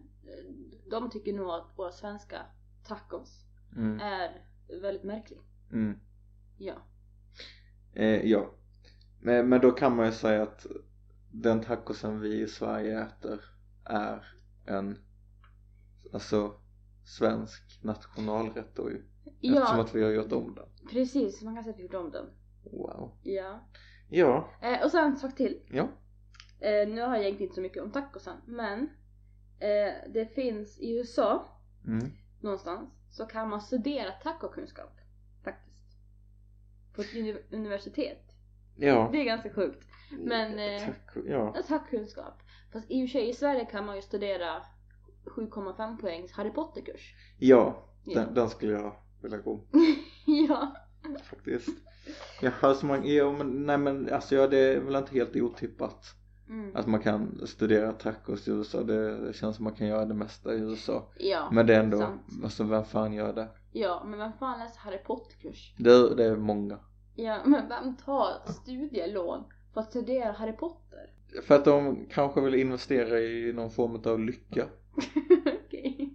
[SPEAKER 1] de tycker nog att våra svenska tacos
[SPEAKER 2] Mm.
[SPEAKER 1] är väldigt märklig.
[SPEAKER 2] Mm.
[SPEAKER 1] Ja.
[SPEAKER 2] Eh, ja. Men, men då kan man ju säga att den tacosen vi i Sverige äter är en alltså svensk nationalrätt då ju. Eftersom
[SPEAKER 1] Ja,
[SPEAKER 2] att vi har gjort om den.
[SPEAKER 1] precis. Man kan säga att vi gjorde om den.
[SPEAKER 2] Wow.
[SPEAKER 1] Ja.
[SPEAKER 2] Ja.
[SPEAKER 1] Eh, och sen en sak till.
[SPEAKER 2] Ja.
[SPEAKER 1] Eh, nu har jag egentligen inte så mycket om tacosen men eh, det finns i USA
[SPEAKER 2] Mm.
[SPEAKER 1] någonstans så kan man studera tacokunskap faktiskt. På ett uni- universitet.
[SPEAKER 2] Ja.
[SPEAKER 1] Det är ganska sjukt. men, eh,
[SPEAKER 2] Taco, ja.
[SPEAKER 1] Ja, Tacokunskap. Fast i och för sig i Sverige kan man ju studera 7,5 poängs Harry Potter-kurs.
[SPEAKER 2] Ja.
[SPEAKER 1] Ja.
[SPEAKER 2] Den, den skulle jag vilja gå
[SPEAKER 1] *laughs* ja.
[SPEAKER 2] faktiskt. Jaha, så man, ja, men, nej men alltså ja, det är väl inte helt otippat
[SPEAKER 1] Mm.
[SPEAKER 2] att man kan studera tacos i USA. Det känns som man kan göra det mesta i USA.
[SPEAKER 1] ja.
[SPEAKER 2] Men det är ändå,
[SPEAKER 1] sant.
[SPEAKER 2] alltså vem fan gör det?
[SPEAKER 1] Ja, men vem fan läser Harry Potter-kurs?
[SPEAKER 2] Det är, det är många.
[SPEAKER 1] Ja, men vem tar studielån för att studera Harry Potter? *laughs*
[SPEAKER 2] För att de kanske vill investera i någon form av lycka.
[SPEAKER 1] Okej.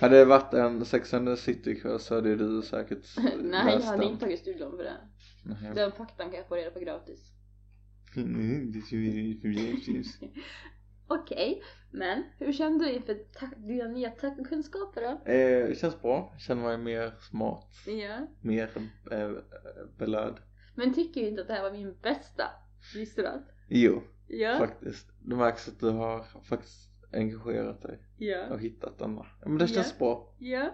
[SPEAKER 2] Hade det varit en Sex and the City så hade du säkert
[SPEAKER 1] *laughs* Nej, jag
[SPEAKER 2] läst
[SPEAKER 1] hade
[SPEAKER 2] den.
[SPEAKER 1] inte tagit studielån för det.
[SPEAKER 2] Nej.
[SPEAKER 1] Den faktan kan jag få reda på gratis.
[SPEAKER 2] Mm, det är ju- det är ju-
[SPEAKER 1] *laughs* Okej, men hur kände du inför ta- dina nya tacokunskaper då?
[SPEAKER 2] Eh, det känns bra, Jag känner mig mer smart,
[SPEAKER 1] Ja.
[SPEAKER 2] mer eh, belärd.
[SPEAKER 1] Men tycker du inte att det här var min bästa? Visste du allt?
[SPEAKER 2] Jo,
[SPEAKER 1] Ja.
[SPEAKER 2] faktiskt. Det märks att du har faktiskt engagerat dig
[SPEAKER 1] Ja.
[SPEAKER 2] och hittat denna. Ja, men det känns
[SPEAKER 1] Ja.
[SPEAKER 2] bra.
[SPEAKER 1] Ja.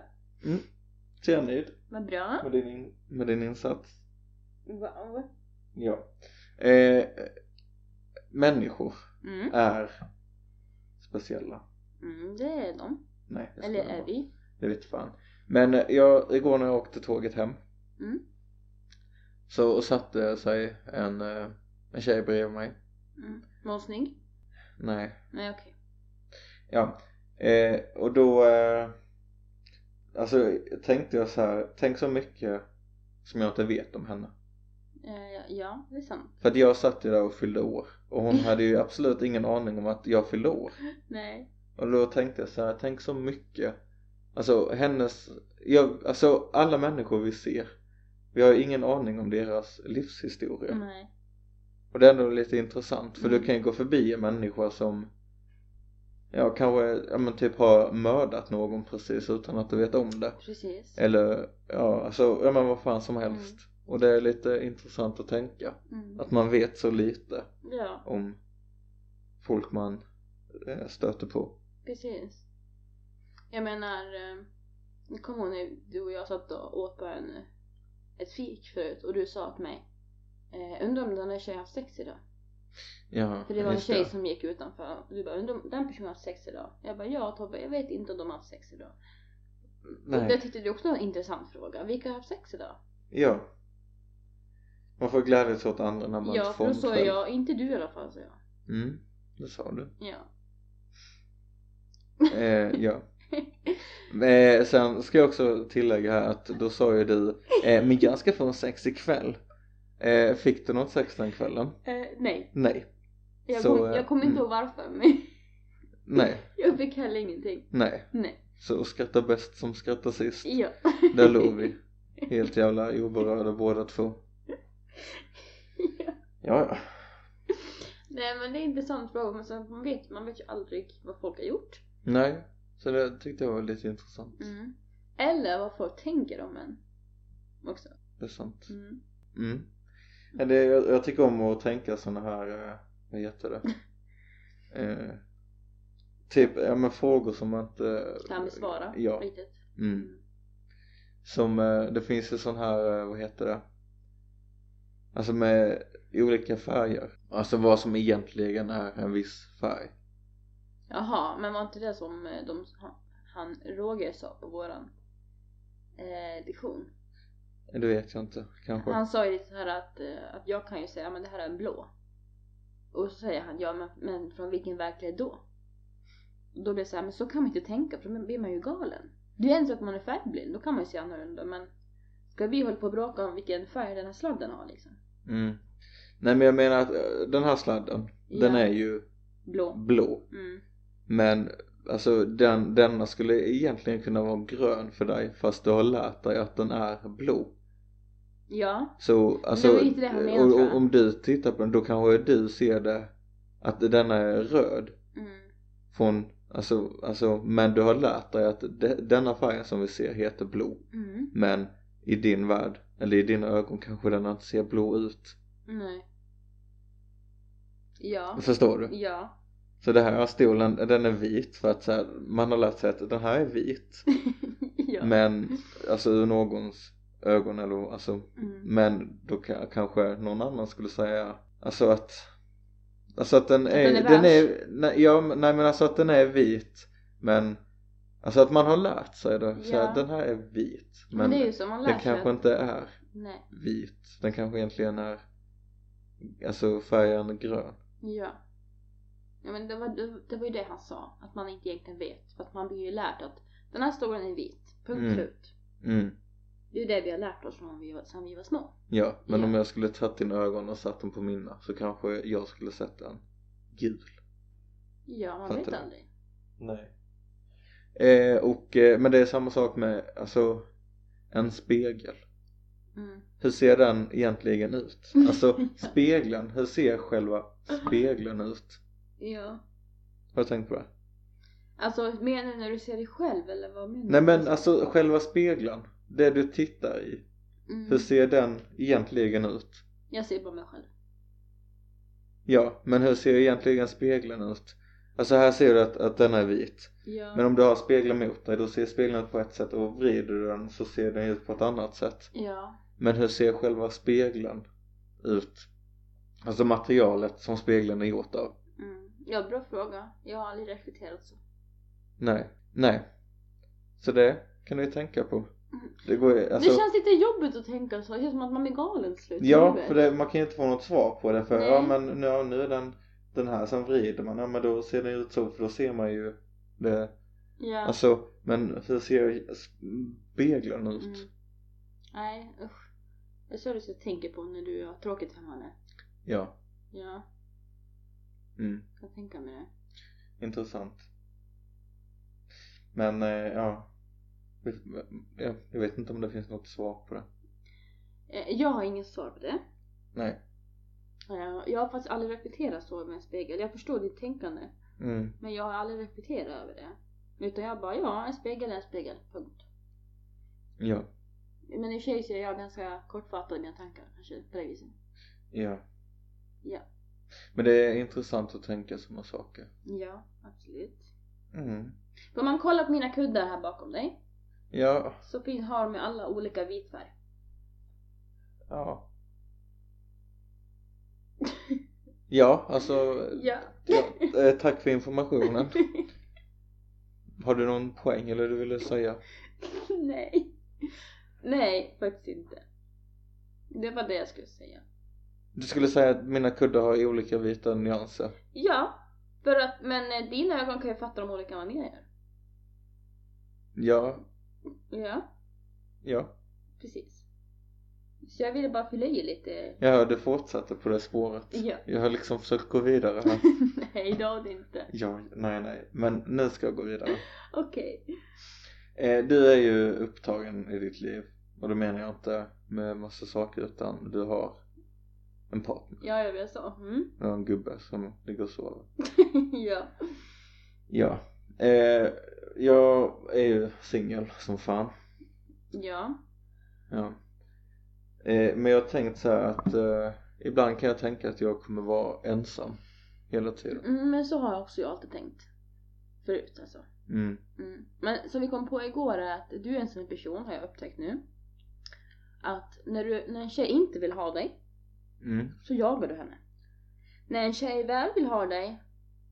[SPEAKER 2] Så jag är nöjd
[SPEAKER 1] Vad bra.
[SPEAKER 2] med din, in- med din insats.
[SPEAKER 1] Wow.
[SPEAKER 2] Ja. Eh, människor
[SPEAKER 1] Mm.
[SPEAKER 2] är speciella.
[SPEAKER 1] mm, det är de.
[SPEAKER 2] Nej, jag
[SPEAKER 1] Eller
[SPEAKER 2] skojar
[SPEAKER 1] är
[SPEAKER 2] bara.
[SPEAKER 1] vi.
[SPEAKER 2] Det vet fan. Men eh, jag, igår när jag åkte tåget hem
[SPEAKER 1] Mm.
[SPEAKER 2] så satte sig en, eh, en tjej bredvid mig.
[SPEAKER 1] Mm. Var hon snygg?
[SPEAKER 2] Nej,
[SPEAKER 1] Nej okej.
[SPEAKER 2] Ja, eh, och då eh, Alltså tänkte jag så här, tänk så mycket som jag inte vet om henne
[SPEAKER 1] Eh, ja, det är sant.
[SPEAKER 2] För att jag satt ju där och fyllde år
[SPEAKER 1] *laughs*
[SPEAKER 2] och hon hade ju absolut ingen aning om att jag fyllde år
[SPEAKER 1] Nej.
[SPEAKER 2] Och då tänkte jag så här, tänk så mycket Alltså hennes, jag, alltså alla människor vi ser Vi har ju ingen aning om deras livshistoria
[SPEAKER 1] Nej.
[SPEAKER 2] Och det är ändå lite intressant för
[SPEAKER 1] Mm.
[SPEAKER 2] du kan ju gå förbi en människa som Ja kanske, ja men typ har mördat någon precis utan att du vet om det
[SPEAKER 1] Precis.
[SPEAKER 2] Eller, ja alltså, ja men vad fan som helst Och det är lite intressant att tänka
[SPEAKER 1] Mm.
[SPEAKER 2] Att man vet så lite
[SPEAKER 1] Ja,
[SPEAKER 2] om folk man eh, stöter på
[SPEAKER 1] precis. Jag menar, eh, jag kommer ihåg när du och jag satt och åt på en, eh, ett fik förut och du sa till mig eh, Undrar om den där tjejen har haft sex idag?
[SPEAKER 2] Ja,
[SPEAKER 1] För det var en
[SPEAKER 2] just
[SPEAKER 1] tjej som gick utanför och du bara undrar om den personen har haft sex idag? Jag bara ja Tobbe, jag vet inte om de har haft sex idag. Och det
[SPEAKER 2] Nej,
[SPEAKER 1] tyckte du också var en intressant fråga. Vilka har haft sex idag?
[SPEAKER 2] ja Man får glädjas åt andra när man
[SPEAKER 1] Ja,
[SPEAKER 2] inte
[SPEAKER 1] för
[SPEAKER 2] får
[SPEAKER 1] då
[SPEAKER 2] något
[SPEAKER 1] sa
[SPEAKER 2] själv.
[SPEAKER 1] jag, inte du i alla fall sa jag.
[SPEAKER 2] Mm, det
[SPEAKER 1] *laughs*
[SPEAKER 2] sa du
[SPEAKER 1] Ja.
[SPEAKER 2] Eh, ja. Eh, sen ska jag också tillägga här att då sa ju du eh, men jag ska få en sex ikväll. Eh, fick du något sex den kvällen?
[SPEAKER 1] Eh, nej,
[SPEAKER 2] Nej,
[SPEAKER 1] jag,
[SPEAKER 2] Så,
[SPEAKER 1] kom,
[SPEAKER 2] eh,
[SPEAKER 1] jag kommer inte
[SPEAKER 2] mm.
[SPEAKER 1] ihåg varför men *laughs*
[SPEAKER 2] nej,
[SPEAKER 1] jag fick heller ingenting.
[SPEAKER 2] nej.
[SPEAKER 1] Nej.
[SPEAKER 2] Så skratta bäst som
[SPEAKER 1] *laughs*
[SPEAKER 2] skrattar sist.
[SPEAKER 1] Ja.
[SPEAKER 2] Där låg vi. Helt jävla oberörda båda två.
[SPEAKER 1] *laughs* Ja.
[SPEAKER 2] Ja, ja.
[SPEAKER 1] Nej men det är en intressant fråga men sen man vet, man vet ju aldrig vad folk har gjort.
[SPEAKER 2] Nej. Så det tyckte jag var lite intressant.
[SPEAKER 1] Mm. Eller vad folk tänker om en. Också.
[SPEAKER 2] Det är sant.
[SPEAKER 1] Mm.
[SPEAKER 2] Mm. Men det, jag, jag tycker om att tänka såna här, eh, vad heter *laughs* det? Eh, typ, ja men frågor som man inte
[SPEAKER 1] Kan besvara
[SPEAKER 2] Ja.
[SPEAKER 1] riktigt.
[SPEAKER 2] Mm. Som, eh, det finns ju sån här, eh, vad heter det? Alltså med olika färger. Alltså vad som egentligen är en viss färg.
[SPEAKER 1] Jaha, men var inte det som eh, de, han Roger sa på våran eh, lektion?
[SPEAKER 2] Det vet jag inte, kanske.
[SPEAKER 1] Han sa ju lite så här att, eh, att jag kan ju säga men det här är en blå. Och så säger han ja men, men från vilken verklighet då? Och då blir det så här, men så kan man inte tänka för då blir man ju galen. Det är en sak om man är färgblind, då kan man ju se annorlunda men ska vi hålla på och bråka om vilken färg den här sladden har liksom?
[SPEAKER 2] Mm. Nej men jag menar att eh, den här sladden, den
[SPEAKER 1] Ja.
[SPEAKER 2] är ju
[SPEAKER 1] Blå.
[SPEAKER 2] blå.
[SPEAKER 1] Mm.
[SPEAKER 2] Men alltså den, denna skulle egentligen kunna vara grön för dig fast du har lärt dig att den är blå.
[SPEAKER 1] Ja,
[SPEAKER 2] Så alltså,
[SPEAKER 1] var inte det han menade,
[SPEAKER 2] och,
[SPEAKER 1] tror
[SPEAKER 2] och,
[SPEAKER 1] jag.
[SPEAKER 2] om du tittar på den då kanske du ser det att denna är röd
[SPEAKER 1] mm.
[SPEAKER 2] från, alltså, alltså men du har lärt dig att de, denna färgen som vi ser heter blå.
[SPEAKER 1] Mm.
[SPEAKER 2] Men i din värld, eller i dina ögon kanske den inte ser blå ut.
[SPEAKER 1] nej. Ja,
[SPEAKER 2] Förstår du?
[SPEAKER 1] ja. *laughs*
[SPEAKER 2] Så det här stolen, den är vit för att så här, man har lärt sig att den här är vit.
[SPEAKER 1] ja.
[SPEAKER 2] Men alltså ur någons ögon eller alltså
[SPEAKER 1] Mm.
[SPEAKER 2] men då ka- kanske någon annan skulle säga alltså att alltså att den
[SPEAKER 1] Att
[SPEAKER 2] är,
[SPEAKER 1] den är
[SPEAKER 2] den är nej, ja, men- nej men alltså att den är vit men alltså att man har lärt sig det så
[SPEAKER 1] Ja.
[SPEAKER 2] att den här är vit
[SPEAKER 1] Men,
[SPEAKER 2] men
[SPEAKER 1] det är ju så, man lär
[SPEAKER 2] den
[SPEAKER 1] sig
[SPEAKER 2] kanske
[SPEAKER 1] att...
[SPEAKER 2] inte är
[SPEAKER 1] Nej.
[SPEAKER 2] vit den kanske egentligen är alltså färgen grön
[SPEAKER 1] Ja. Ja men det var, det, det var ju det han sa, att man inte egentligen vet. För att man blir ju lärt att den här stolen är vit, punkt
[SPEAKER 2] Mm.
[SPEAKER 1] slut.
[SPEAKER 2] mm
[SPEAKER 1] Det är ju det vi har lärt oss från vi var, sedan vi var små.
[SPEAKER 2] ja men
[SPEAKER 1] Ja.
[SPEAKER 2] om jag skulle tagit dina ögon och satt dem på mina så kanske jag skulle sett den gul
[SPEAKER 1] Ja, man
[SPEAKER 2] Fattar
[SPEAKER 1] vet
[SPEAKER 2] du?
[SPEAKER 1] aldrig.
[SPEAKER 2] Nej. Eh, och, eh, men det är samma sak med, alltså, en spegel.
[SPEAKER 1] Mm.
[SPEAKER 2] Hur ser den egentligen ut? Alltså spegeln, hur ser själva spegeln ut?
[SPEAKER 1] Ja.
[SPEAKER 2] Har du tänkt på det?
[SPEAKER 1] Alltså menar du när du ser dig själv eller vad menar du?
[SPEAKER 2] Nej men alltså själva spegeln, det du tittar i,
[SPEAKER 1] Mm.
[SPEAKER 2] hur ser den egentligen ut?
[SPEAKER 1] Jag ser bara mig själv.
[SPEAKER 2] Ja, men hur ser egentligen spegeln ut? Alltså här ser du att, att den är vit.
[SPEAKER 1] Ja.
[SPEAKER 2] Men om du har spegeln mot dig då ser spegeln ut på ett sätt och vrider du den så ser den ut på ett annat sätt.
[SPEAKER 1] Ja.
[SPEAKER 2] Men hur ser själva spegeln ut? Alltså materialet som spegeln är gjort av?
[SPEAKER 1] Mm. Ja, bra fråga. Jag har aldrig reflekterat så.
[SPEAKER 2] Nej, nej. Så det kan du ju tänka på. Det går ju, alltså,
[SPEAKER 1] det känns lite jobbigt att tänka så. Det känns som att man blir galen till slut. i
[SPEAKER 2] Ja,
[SPEAKER 1] huvudet.
[SPEAKER 2] för det, man kan ju inte få något svar på det för
[SPEAKER 1] Nej.
[SPEAKER 2] ja men nu, ja, nu är den den här, sen vrider man, ja men då ser den ut så för då ser man ju Det,
[SPEAKER 1] Ja.
[SPEAKER 2] Alltså, men hur ser speglarna ut?
[SPEAKER 1] Mm. Nej, usch. Det är så du ska tänka på när du har tråkigt hemma nu.
[SPEAKER 2] Ja,
[SPEAKER 1] Ja,
[SPEAKER 2] mm.
[SPEAKER 1] jag kan tänka mig det.
[SPEAKER 2] intressant. Men, eh, ja. Jag, jag vet inte om det finns något svar på det.
[SPEAKER 1] Eh, Jag har ingen svar på det.
[SPEAKER 2] Nej.
[SPEAKER 1] Eh, Jag har faktiskt aldrig reflekterat så med en spegel. Jag förstår ditt tänkande.
[SPEAKER 2] Mm.
[SPEAKER 1] Men jag har aldrig reflekterat över det. Utan jag bara, ja en spegel är en spegel. Punkt.
[SPEAKER 2] Ja,
[SPEAKER 1] Men i och för sig så är jag ganska kortfattad i mina tankar kanske på det viset.
[SPEAKER 2] ja.
[SPEAKER 1] Ja.
[SPEAKER 2] Men det är intressant att tänka sådana saker.
[SPEAKER 1] Ja, absolut.
[SPEAKER 2] Mm.
[SPEAKER 1] Om man kollar på mina kuddar här bakom dig
[SPEAKER 2] Ja,
[SPEAKER 1] så fin- har de ju alla olika vit färg. *laughs*
[SPEAKER 2] ja. Ja, alltså.
[SPEAKER 1] Ja. *laughs*
[SPEAKER 2] ja, eh, tack för informationen. Har du någon poäng eller du ville säga?
[SPEAKER 1] *laughs* Nej. Nej, faktiskt inte. Det var det jag skulle säga.
[SPEAKER 2] Du skulle säga att mina kuddar har olika vita nyanser?
[SPEAKER 1] Ja, för att, men eh, dina ögon kan ju fatta de olika manéer.
[SPEAKER 2] Ja,
[SPEAKER 1] Ja,
[SPEAKER 2] ja.
[SPEAKER 1] precis. Så jag ville bara fylla i lite. *laughs*
[SPEAKER 2] Jag hörde fortsatte på det spåret.
[SPEAKER 1] Ja.
[SPEAKER 2] Jag har liksom försökt gå vidare här.
[SPEAKER 1] Nej, det har du inte.
[SPEAKER 2] Ja, nej, nej. Men nu ska jag gå vidare.
[SPEAKER 1] Okej.
[SPEAKER 2] Eh, du är ju upptagen i ditt liv. Och då menar jag inte med massa saker utan du har en partner.
[SPEAKER 1] Ja, jag vet så. Mm. *laughs*
[SPEAKER 2] Du har en gubbe som ligger och sover.
[SPEAKER 1] ja.
[SPEAKER 2] Ja. Eh, jag är ju singel som fan.
[SPEAKER 1] Ja.
[SPEAKER 2] Ja. Eh, men jag har tänkt så här att eh, ibland kan jag tänka att jag kommer vara ensam hela tiden.
[SPEAKER 1] Mm, men så har också jag alltid tänkt. Förut alltså.
[SPEAKER 2] Mm.
[SPEAKER 1] Mm. Men som vi kom på igår är att du är en sån person, har jag upptäckt nu. Att när, du, när en tjej inte vill ha dig
[SPEAKER 2] Mm.
[SPEAKER 1] så jagar du henne. När en tjej väl vill ha dig,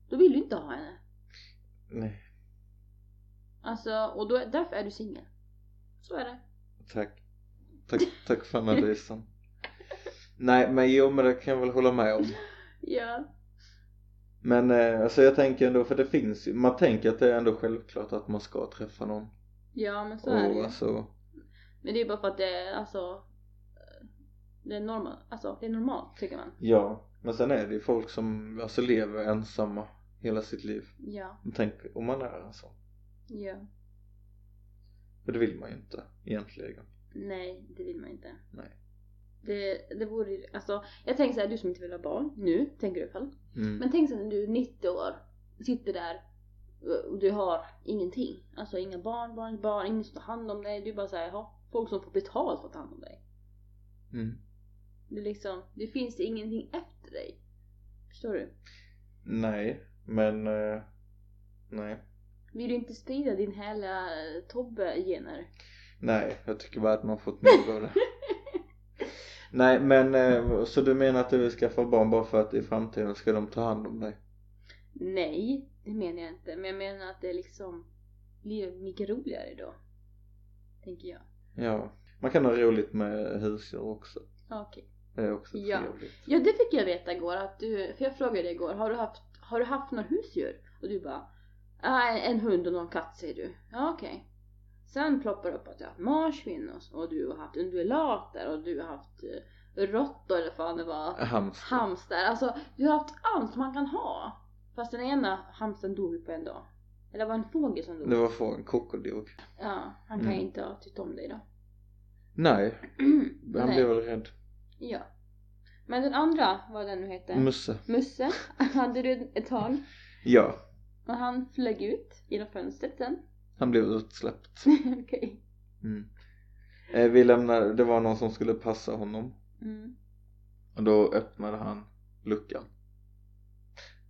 [SPEAKER 1] då vill du inte ha henne.
[SPEAKER 2] Nej,
[SPEAKER 1] Alltså, och då, därför är du singel. Så är det.
[SPEAKER 2] tack. Tack, tack för analysen. Nej men jo men det kan jag väl hålla med om.
[SPEAKER 1] Ja.
[SPEAKER 2] Men eh, alltså jag tänker ändå för det finns ju, man tänker att det är ändå självklart att man ska träffa någon.
[SPEAKER 1] Ja, men så är det
[SPEAKER 2] och
[SPEAKER 1] ju.
[SPEAKER 2] alltså,
[SPEAKER 1] Men det är bara för att det är, alltså, det är normalt, alltså, det är normalt tycker man.
[SPEAKER 2] ja. Men sen är det ju folk som alltså lever ensamma hela sitt liv.
[SPEAKER 1] Ja.
[SPEAKER 2] Tänk om man är en sån.
[SPEAKER 1] Ja.
[SPEAKER 2] För det vill man ju inte egentligen.
[SPEAKER 1] Nej, det vill man inte.
[SPEAKER 2] Nej.
[SPEAKER 1] Det, det vore ju- alltså, jag tänker såhär, du som inte vill ha barn, nu, tänker du i alla fall.
[SPEAKER 2] Mm.
[SPEAKER 1] Men tänk såhär när du är 90 år, sitter där och du har ingenting. Alltså inga barn, barn, barn, ingen som tar hand om dig. Du är bara såhär, jaha, folk som får betalt för att ta hand om dig.
[SPEAKER 2] Mm.
[SPEAKER 1] Det är liksom, det finns ingenting efter dig. Förstår du?
[SPEAKER 2] Nej, men eh, nej.
[SPEAKER 1] Vill du inte sprida din härliga eh, Tobbe-gener?
[SPEAKER 2] Nej, jag tycker bara att man fått
[SPEAKER 1] *laughs*
[SPEAKER 2] nog av det. nej, men eh, så du menar att du vill skaffa barn bara för att i framtiden ska de ta hand om dig?
[SPEAKER 1] Nej, det menar jag inte. Men jag menar att det liksom blir mycket roligare då. Tänker jag.
[SPEAKER 2] Ja. Man kan ha roligt med husdjur också.
[SPEAKER 1] Okej.
[SPEAKER 2] Det är också
[SPEAKER 1] Ja.
[SPEAKER 2] trevligt.
[SPEAKER 1] Ja, det fick jag veta igår att du, för jag frågade dig igår, har du haft, har du haft några husdjur? Och du bara, "Ah, en- en hund och någon katt säger du. Ja, okej. Sen ploppar det upp att jag har haft marsvin och, och du har haft undulater och du har haft eh, råttor eller fan det var.
[SPEAKER 2] Hamster.
[SPEAKER 1] Hamster, alltså du har haft allt man kan ha. Fast den ena hamstern dog ju på en dag. Eller var det en fågel som dog?
[SPEAKER 2] Det var fågeln krokodil.
[SPEAKER 1] Ja, han kan ju
[SPEAKER 2] Mm.
[SPEAKER 1] inte ha tyckt om dig då. *clears throat*
[SPEAKER 2] Nej, han
[SPEAKER 1] Nej.
[SPEAKER 2] blev väl rädd.
[SPEAKER 1] Ja. Men den andra, vad den nu hette,
[SPEAKER 2] Musse.
[SPEAKER 1] Musse, *laughs* hade du ett tag.
[SPEAKER 2] Ja,
[SPEAKER 1] Och han flög ut genom fönstret sen. *laughs*
[SPEAKER 2] han blev utsläppt.
[SPEAKER 1] Okej.
[SPEAKER 2] Mm. Eh, vi lämnade, det var någon som skulle passa honom.
[SPEAKER 1] Mm.
[SPEAKER 2] Och då öppnade han luckan.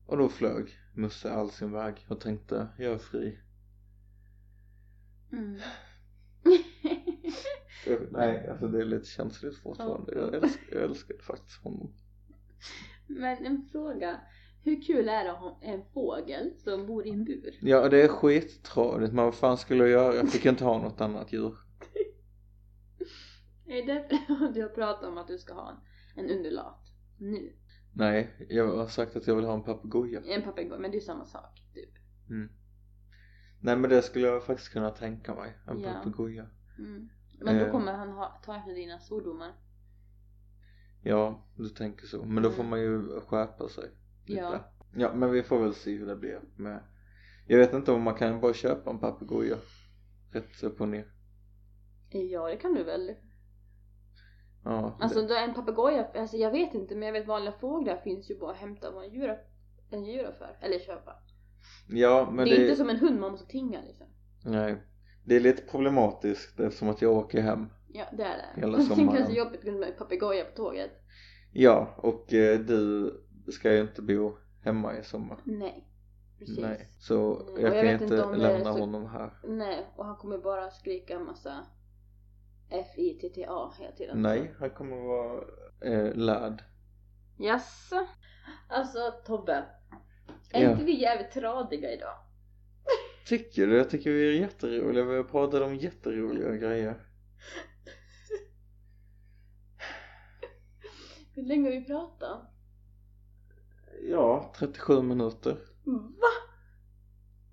[SPEAKER 2] Och då flög Musse all sin väg och tänkte, jag är fri.
[SPEAKER 1] Mm. *laughs*
[SPEAKER 2] Usch, Nej, alltså det är lite känsligt fortfarande. Jag älskar, jag älskar faktiskt honom.
[SPEAKER 1] Men en fråga. Hur kul är det att ha en fågel som bor i en bur?
[SPEAKER 2] Ja, och det är skittradigt. Men vad fan skulle jag göra? Jag fick inte ha något annat djur.
[SPEAKER 1] Är det därför *laughs* du har pratat om att du ska ha en, en undulat? Nu.
[SPEAKER 2] Nej, jag har sagt att jag vill ha en papegoja.
[SPEAKER 1] En papegoja, men det är ju samma sak. Typ.
[SPEAKER 2] Nej men det skulle jag faktiskt kunna tänka mig. En
[SPEAKER 1] Ja.
[SPEAKER 2] papegoja.
[SPEAKER 1] Mm. Men då
[SPEAKER 2] Eh.
[SPEAKER 1] kommer han ha, ta efter dina svordomar.
[SPEAKER 2] Ja, du tänker så. Men då får
[SPEAKER 1] Mm.
[SPEAKER 2] man ju skärpa sig lite.
[SPEAKER 1] Ja.
[SPEAKER 2] ja men vi får väl se hur det blir med Jag vet inte om man kan bara köpa en papegoja rätt upp och ner.
[SPEAKER 1] Eh, Ja, det kan du väl.
[SPEAKER 2] Ja,
[SPEAKER 1] Alltså
[SPEAKER 2] det.
[SPEAKER 1] då en papegoja, alltså jag vet inte men jag vet vanliga fåglar finns ju bara att hämta vad en djura, en djura för. Eller köpa.
[SPEAKER 2] ja men
[SPEAKER 1] det är inte som en hund man måste tinga liksom.
[SPEAKER 2] Nej. Det är lite problematiskt eftersom att jag åker hem.
[SPEAKER 1] Ja, det är *laughs* det.
[SPEAKER 2] Hela
[SPEAKER 1] Och sen kan det
[SPEAKER 2] sommaren.
[SPEAKER 1] så jobbigt med en papegoja på tåget.
[SPEAKER 2] Ja, och eh, du ska ju inte bo hemma i sommar.
[SPEAKER 1] Nej, precis.
[SPEAKER 2] Nej.
[SPEAKER 1] Nej.
[SPEAKER 2] Så
[SPEAKER 1] Mm, och
[SPEAKER 2] jag,
[SPEAKER 1] jag
[SPEAKER 2] kan
[SPEAKER 1] vet
[SPEAKER 2] inte
[SPEAKER 1] inte om det är
[SPEAKER 2] lämna
[SPEAKER 1] så-
[SPEAKER 2] honom här.
[SPEAKER 1] och han kommer bara skrika en massa F-I-T-T-A hela tiden.
[SPEAKER 2] Nej, han kommer vara eh, lärd.
[SPEAKER 1] Jaså? Alltså Tobbe, är
[SPEAKER 2] Ja.
[SPEAKER 1] inte vi jävligt tradiga idag?
[SPEAKER 2] Tycker du? Jag tycker vi är jätteroliga. Vi har pratat om jätteroliga grejer.
[SPEAKER 1] Hur länge har vi pratat?
[SPEAKER 2] Ja, 37 minuter.
[SPEAKER 1] Va?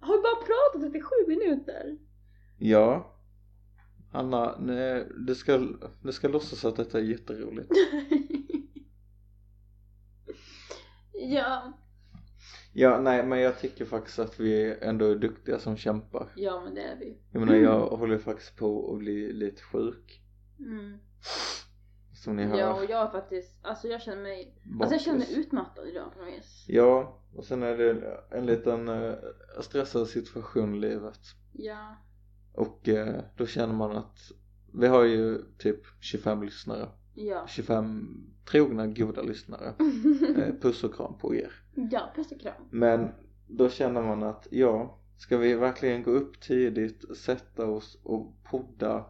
[SPEAKER 1] Har vi bara pratat 37 minuter? *laughs*
[SPEAKER 2] Ja. Anna, nej, du ska, du ska låtsas att detta är jätteroligt.
[SPEAKER 1] ja,
[SPEAKER 2] Ja, nej, men jag tycker faktiskt att vi ändå är duktiga som kämpar.
[SPEAKER 1] ja men det är vi.
[SPEAKER 2] Jag menar, jag håller faktiskt på att bli lite sjuk.
[SPEAKER 1] Mm.
[SPEAKER 2] Som ni hör.
[SPEAKER 1] Ja och jag är faktiskt, alltså jag känner mig, alltså jag känner mig utmattad idag på något vis.
[SPEAKER 2] Ja, och sen är det en liten eh, stressad situation i livet.
[SPEAKER 1] Ja.
[SPEAKER 2] Och eh, då känner man att vi har ju typ 25 lyssnare. *laughs*
[SPEAKER 1] Ja.
[SPEAKER 2] 25 trogna goda lyssnare.
[SPEAKER 1] Mhm.
[SPEAKER 2] Eh, puss och kram på er.
[SPEAKER 1] ja, puss och kram. *laughs*
[SPEAKER 2] Men då känner man att ja, ska vi verkligen gå upp tidigt, sätta oss och podda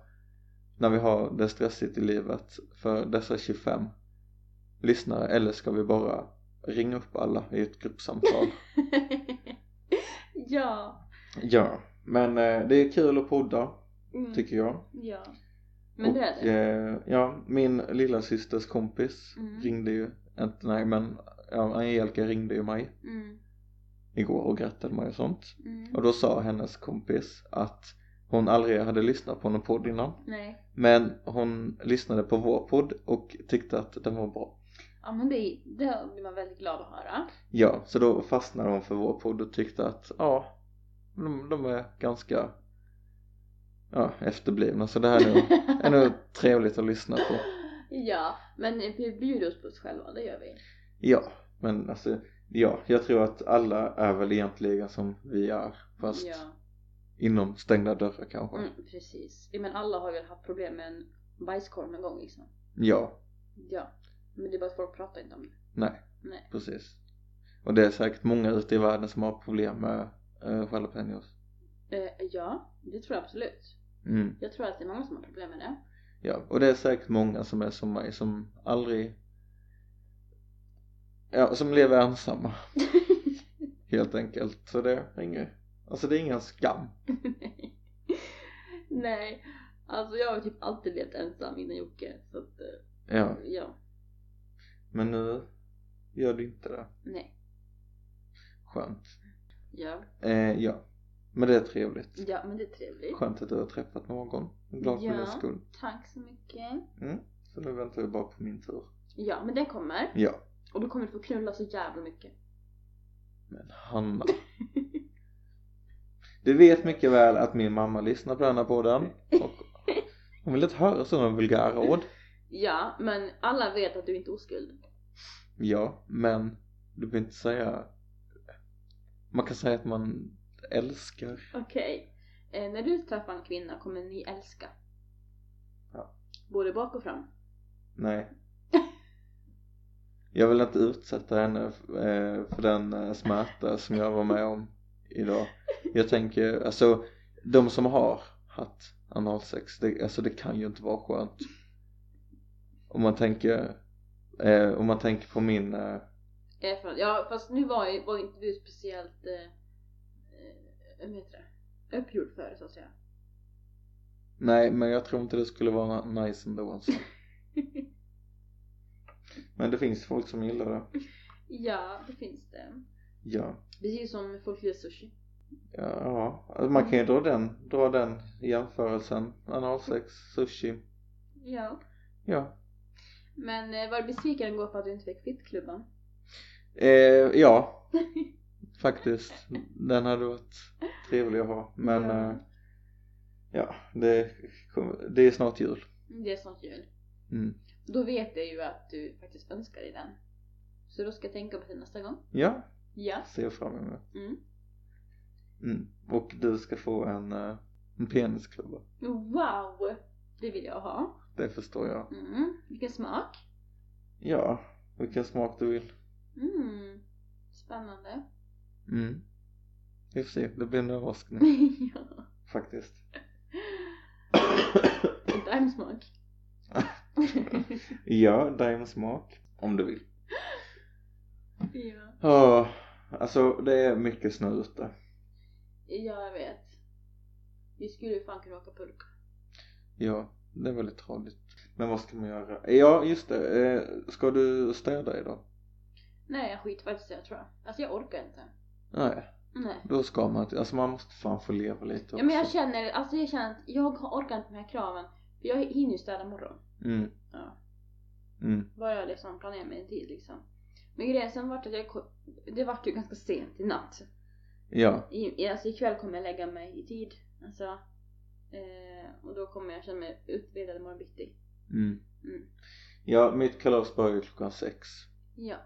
[SPEAKER 2] när vi har det stressigt i livet för dessa 25 lyssnare eller ska vi bara ringa upp alla i
[SPEAKER 1] *laughs*
[SPEAKER 2] ett gruppsamtal?
[SPEAKER 1] ja.
[SPEAKER 2] Ja, men eh, det är kul att podda
[SPEAKER 1] Mm.
[SPEAKER 2] tycker jag.
[SPEAKER 1] Ja. Men det är
[SPEAKER 2] och,
[SPEAKER 1] det.
[SPEAKER 2] Eh, ja, min lilla systers kompis
[SPEAKER 1] Mm.
[SPEAKER 2] ringde ju, inte nej men ja, Angelica ringde ju mig
[SPEAKER 1] Mm.
[SPEAKER 2] igår och grattade mig och sånt.
[SPEAKER 1] Mm.
[SPEAKER 2] Och då sa hennes kompis att hon aldrig hade lyssnat på någon podd innan.
[SPEAKER 1] Nej.
[SPEAKER 2] Men hon lyssnade på vår podd och tyckte att den var bra.
[SPEAKER 1] Ja men det, det blir man väldigt glad att höra.
[SPEAKER 2] Ja, så då fastnade hon för vår podd och tyckte att ja, de, de är ganska ja, efterblivna så det här
[SPEAKER 1] *laughs*
[SPEAKER 2] är nog är nog trevligt att lyssna på.
[SPEAKER 1] ja, men vi bjuder oss på oss själva, det gör vi.
[SPEAKER 2] Ja, men alltså ja, jag tror att alla är väl egentligen som vi är fast
[SPEAKER 1] Ja.
[SPEAKER 2] inom stängda dörrar kanske.
[SPEAKER 1] Mm, precis. Ja, Men alla har ju haft problem med en bajskorv någon gång liksom.
[SPEAKER 2] Ja,
[SPEAKER 1] Ja. Men det är bara att folk pratar inte om det.
[SPEAKER 2] precis. Och det är säkert många ute i världen som har problem med eh, jalapenos.
[SPEAKER 1] Eh, ja, det tror jag absolut.
[SPEAKER 2] Mm.
[SPEAKER 1] Jag tror att det är många som har problem med det.
[SPEAKER 2] Ja, och det är säkert många som är som mig som aldrig Ja, som lever ensamma helt enkelt. Så det är inget, alltså det är ingen skam.
[SPEAKER 1] *laughs* Nej, alltså jag har typ alltid levt ensam innan Jocke. Så att, eh,
[SPEAKER 2] Ja,
[SPEAKER 1] ja,
[SPEAKER 2] men nu gör du inte det.
[SPEAKER 1] nej,
[SPEAKER 2] Skönt.
[SPEAKER 1] ja,
[SPEAKER 2] Eh, ja, men det är trevligt.
[SPEAKER 1] ja men det är trevligt.
[SPEAKER 2] Skönt att du har träffat någon. Jag är Glad för
[SPEAKER 1] Mm. Ja.
[SPEAKER 2] din skull.
[SPEAKER 1] Tack så mycket.
[SPEAKER 2] Så nu väntar vi bara på min tur.
[SPEAKER 1] Ja, men den kommer.
[SPEAKER 2] Ja.
[SPEAKER 1] Och då kommer du få knulla så jävla mycket.
[SPEAKER 2] Men Hanna. Du vet mycket väl att min mamma lyssnar på den här podden. Och hon vill inte höra sådana vulgära ord.
[SPEAKER 1] Ja, men alla vet att du inte är oskuld.
[SPEAKER 2] Ja, men du behöver inte säga... Man kan säga att man älskar.
[SPEAKER 1] Okej. Eh, när du träffar en kvinna kommer ni älska.
[SPEAKER 2] Ja.
[SPEAKER 1] Både bak och fram.
[SPEAKER 2] Nej. Jag vill inte utsätta henne eh, för den eh, smärta som jag var med om idag. Jag tänker, alltså de som har haft analsex, det, alltså det kan ju inte vara skönt. Om man tänker, eh, om man tänker på min, eh,
[SPEAKER 1] Eh, för, ja, fast nu var, ju- var inte du speciellt, eh, eh, vad heter det, uppgjord för det så att säga.
[SPEAKER 2] nej men jag tror inte det skulle vara na- nice ändå alltså. Men det finns folk som gillar det.
[SPEAKER 1] ja, det finns det.
[SPEAKER 2] Ja.
[SPEAKER 1] Precis som folk gillar sushi.
[SPEAKER 2] Ja, alltså man kan ju dra den, dra den jämförelsen. Analsex, sushi.
[SPEAKER 1] Ja.
[SPEAKER 2] Ja.
[SPEAKER 1] Men eh, var du besviken igår på att du inte fick fittklubban?
[SPEAKER 2] Eh, ja, faktiskt. Den hade varit trevlig att ha. Men
[SPEAKER 1] Ja.
[SPEAKER 2] eh, ja, det, kommer- det är snart jul.
[SPEAKER 1] Det är snart jul.
[SPEAKER 2] Mm.
[SPEAKER 1] Då vet jag ju att du faktiskt önskar dig den. Så då ska jag tänka på det nästa gång.
[SPEAKER 2] Ja,
[SPEAKER 1] Ja.
[SPEAKER 2] ser jag fram emot.
[SPEAKER 1] Mm.
[SPEAKER 2] Mm. Och du ska få en, eh, en penisklubba.
[SPEAKER 1] Wow! Det vill jag ha.
[SPEAKER 2] Det förstår jag.
[SPEAKER 1] Mm. Vilken smak.
[SPEAKER 2] Ja, vilken smak du vill.
[SPEAKER 1] Mm. Spännande. *laughs*
[SPEAKER 2] Mm. Vi får se, det blir en överraskning *laughs*
[SPEAKER 1] ja.
[SPEAKER 2] faktiskt.
[SPEAKER 1] Inte en smak.
[SPEAKER 2] ja, daimsmak. Om du vill.
[SPEAKER 1] *laughs* ja.
[SPEAKER 2] Ja, alltså det är mycket snö ute.
[SPEAKER 1] Ja, jag vet. Vi skulle ju fan kunna åka pulka.
[SPEAKER 2] Ja, det är väldigt tradigt. Men vad ska man göra? Ja, just det. Eh, ska du städa idag?
[SPEAKER 1] Nej, jag skiter faktiskt i det tror jag. Alltså jag orkar inte.
[SPEAKER 2] Nej,
[SPEAKER 1] Nej.
[SPEAKER 2] då ska man inte. Alltså man måste fan få leva lite Typ också.
[SPEAKER 1] Ja, men jag känner, alltså jag känner att jag orkar inte med de här kraven. För jag hinner ju städa imorgon.
[SPEAKER 2] Mm.
[SPEAKER 1] Ja.
[SPEAKER 2] Mm.
[SPEAKER 1] Bara jag liksom planerar mig en tid liksom. Men grejen sen vart att jag ko- det vart ju ganska sent i natt.
[SPEAKER 2] Ja,
[SPEAKER 1] I, i- alltså ikväll kommer jag lägga mig i tid. Alltså. Eh, och då kommer jag känna mig utvilad imorgon bitti.
[SPEAKER 2] mm.
[SPEAKER 1] Mm.
[SPEAKER 2] Ja, mitt kalas börjar ju klockan sex.
[SPEAKER 1] Ja,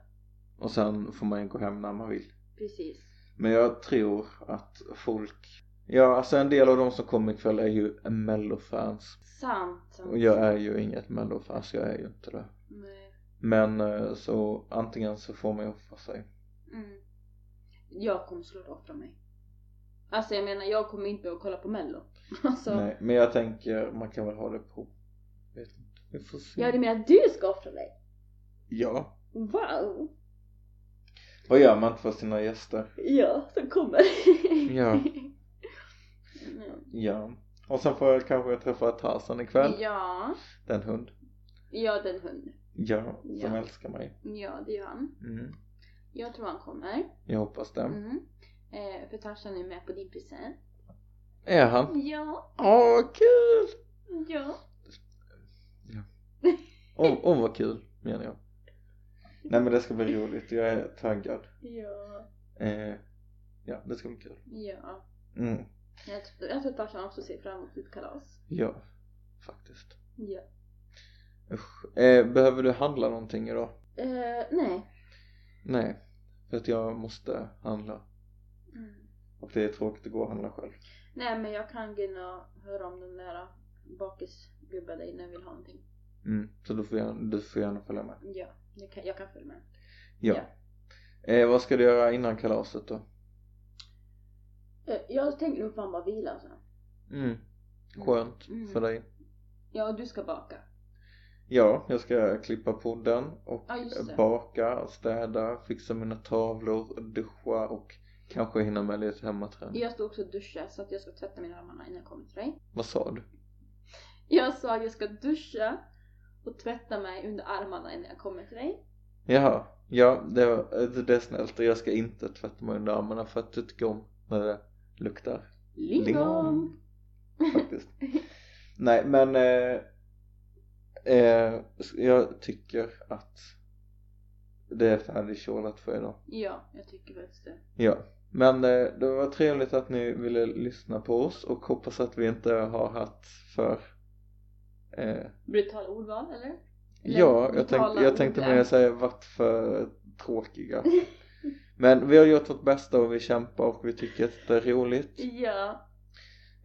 [SPEAKER 2] Och sen får man ju gå hem när man vill.
[SPEAKER 1] precis.
[SPEAKER 2] Men jag tror att folk... Ja, alltså en del av de som kommer ikväll är ju mellofans.
[SPEAKER 1] Sant. sant.
[SPEAKER 2] Och jag är ju inget mellofan, så jag är ju inte det.
[SPEAKER 1] Nej.
[SPEAKER 2] Men eh, så antingen så får man ju offra sig.
[SPEAKER 1] Mm. Jag kommer slå rakt från mig. Alltså jag menar, jag kommer inte att kolla på mello. *laughs* Alltså.
[SPEAKER 2] Nej, men jag tänker man kan väl ha det på... Vet inte, vi får se.
[SPEAKER 1] Ja, du menar att du ska offra dig?
[SPEAKER 2] Ja.
[SPEAKER 1] Wow!
[SPEAKER 2] Vad gör man inte för sina gäster?
[SPEAKER 1] Ja, som kommer. *laughs*
[SPEAKER 2] Ja.
[SPEAKER 1] Mm.
[SPEAKER 2] Ja. Och sen får jag kanske träffa Tarzan ikväll.
[SPEAKER 1] Ja.
[SPEAKER 2] Den hund.
[SPEAKER 1] Ja, den hunden.
[SPEAKER 2] Ja, som
[SPEAKER 1] Ja.
[SPEAKER 2] älskar mig.
[SPEAKER 1] Ja, det gör han.
[SPEAKER 2] Mm.
[SPEAKER 1] Jag tror han kommer.
[SPEAKER 2] Jag hoppas det.
[SPEAKER 1] Mm. Eh, för Tarzan är med på din present.
[SPEAKER 2] Är han?
[SPEAKER 1] Ja.
[SPEAKER 2] Åh, kul!
[SPEAKER 1] Ja.
[SPEAKER 2] Åh, oh, vad kul menar jag. Nej men det ska bli roligt, jag är taggad.
[SPEAKER 1] Ja.
[SPEAKER 2] Eh, ja, det ska bli kul.
[SPEAKER 1] Ja.
[SPEAKER 2] Mm,
[SPEAKER 1] Jag, tr- jag tror Tarzan också ser fram emot sitt kalas.
[SPEAKER 2] ja, faktiskt.
[SPEAKER 1] Ja.
[SPEAKER 2] Usch. Eh, behöver du handla någonting idag?
[SPEAKER 1] Eh, nej.
[SPEAKER 2] Nej, för att jag måste handla.
[SPEAKER 1] Mm.
[SPEAKER 2] Och det är tråkigt att gå och handla själv.
[SPEAKER 1] Nej, men jag kan gå in och höra om den där bakisgubben där inne vill ha någonting.
[SPEAKER 2] Mm, så du får gärna, du får gärna följa med.
[SPEAKER 1] Ja, det kan, jag kan följa med.
[SPEAKER 2] Ja. Eh, vad ska du göra innan kalaset då?
[SPEAKER 1] Eh, Jag tänker nog fan bara vila alltså.
[SPEAKER 2] Mm, skönt
[SPEAKER 1] Mm.
[SPEAKER 2] för dig.
[SPEAKER 1] Ja, och du ska baka.
[SPEAKER 2] Ja, jag ska klippa podden och
[SPEAKER 1] Ja, just det.
[SPEAKER 2] baka, städa, fixa mina tavlor, duscha och kanske hinna med lite hemmaträning.
[SPEAKER 1] Jag ska också duscha så att jag ska tvätta mina armarna innan jag kommer till dig.
[SPEAKER 2] Vad sa du?
[SPEAKER 1] Jag sa att jag ska duscha och tvätta mig under armarna innan jag kommer till dig.
[SPEAKER 2] Jaha, ja det, var- det är snällt och jag ska inte tvätta mig under armarna för att du tycker om när det luktar
[SPEAKER 1] Lingon!
[SPEAKER 2] faktiskt. Nej men eh, eh, jag tycker att det är färdigkjolat för idag.
[SPEAKER 1] Ja, jag tycker faktiskt det.
[SPEAKER 2] Ja, men eh, det var trevligt att ni ville lyssna på oss och hoppas att vi inte har haft för eh,
[SPEAKER 1] Brutala ordval, eller? Eller
[SPEAKER 2] ja, jag,
[SPEAKER 1] brutala
[SPEAKER 2] tänk, jag tänkte
[SPEAKER 1] ord.
[SPEAKER 2] mer säga varit för tråkiga men vi har gjort vårt bästa och vi kämpar och vi tycker att det är roligt
[SPEAKER 1] Ja,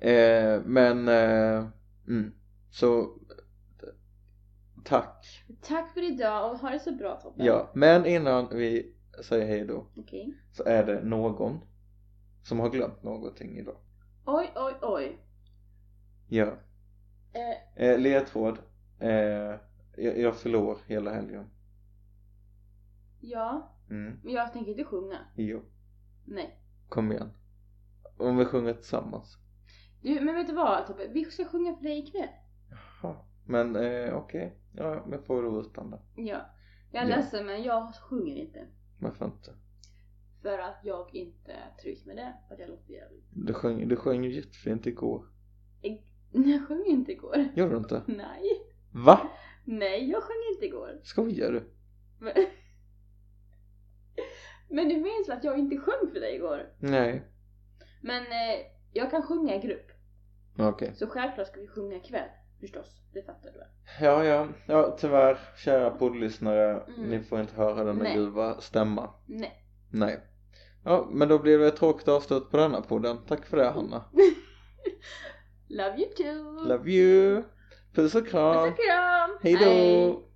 [SPEAKER 2] eh, men eh, mm, så eh, tack
[SPEAKER 1] tack för idag och ha det så bra Tobbe.
[SPEAKER 2] ja, men innan vi säger hej då
[SPEAKER 1] Okej.
[SPEAKER 2] så är det någon som har glömt någonting idag
[SPEAKER 1] Oj, oj, oj.
[SPEAKER 2] ja
[SPEAKER 1] Eh,
[SPEAKER 2] Eh, ledtråd. Eh, jag, jag förlorar hela helgen.
[SPEAKER 1] ja,
[SPEAKER 2] Mm.
[SPEAKER 1] men jag tänker inte sjunga.
[SPEAKER 2] Jo.
[SPEAKER 1] Nej.
[SPEAKER 2] Kom igen. Om vi sjunger tillsammans.
[SPEAKER 1] Du, men vet du vad Tobbe? Vi ska sjunga för dig ikväll.
[SPEAKER 2] Jaha. Men eh, okej. Ja, men får du utan det.
[SPEAKER 1] Ja. Jag är
[SPEAKER 2] Ja.
[SPEAKER 1] ledsen men jag sjunger inte.
[SPEAKER 2] Varför inte?
[SPEAKER 1] För att jag inte trivs med det, för att jag låter jävligt. *laughs*
[SPEAKER 2] Du sjöng, du sjöng ju jättefint igår.
[SPEAKER 1] Nej, jag sjöng inte igår.
[SPEAKER 2] Gör du inte?
[SPEAKER 1] *laughs* Nej.
[SPEAKER 2] Va?
[SPEAKER 1] Nej, jag sjöng inte igår.
[SPEAKER 2] Skojar du?
[SPEAKER 1] Men, *laughs* Men du minns väl att jag inte sjöng för dig igår?
[SPEAKER 2] Nej.
[SPEAKER 1] Men eh, jag kan sjunga i grupp.
[SPEAKER 2] Okej.
[SPEAKER 1] Så självklart ska vi sjunga ikväll. Förstås, det fattar du väl?
[SPEAKER 2] Ja, ja, ja, tyvärr, kära poddlyssnare,
[SPEAKER 1] Mm.
[SPEAKER 2] ni får inte höra denna
[SPEAKER 1] Nej.
[SPEAKER 2] ljuva stämma.
[SPEAKER 1] Nej.
[SPEAKER 2] Nej. Ja, men då blir det ett tråkigt avslut på denna podden. Tack för det, Hanna.
[SPEAKER 1] Love you too!
[SPEAKER 2] Love you! Puss och kram!
[SPEAKER 1] Mm. Puss och kram!
[SPEAKER 2] Hej då!
[SPEAKER 1] Hej.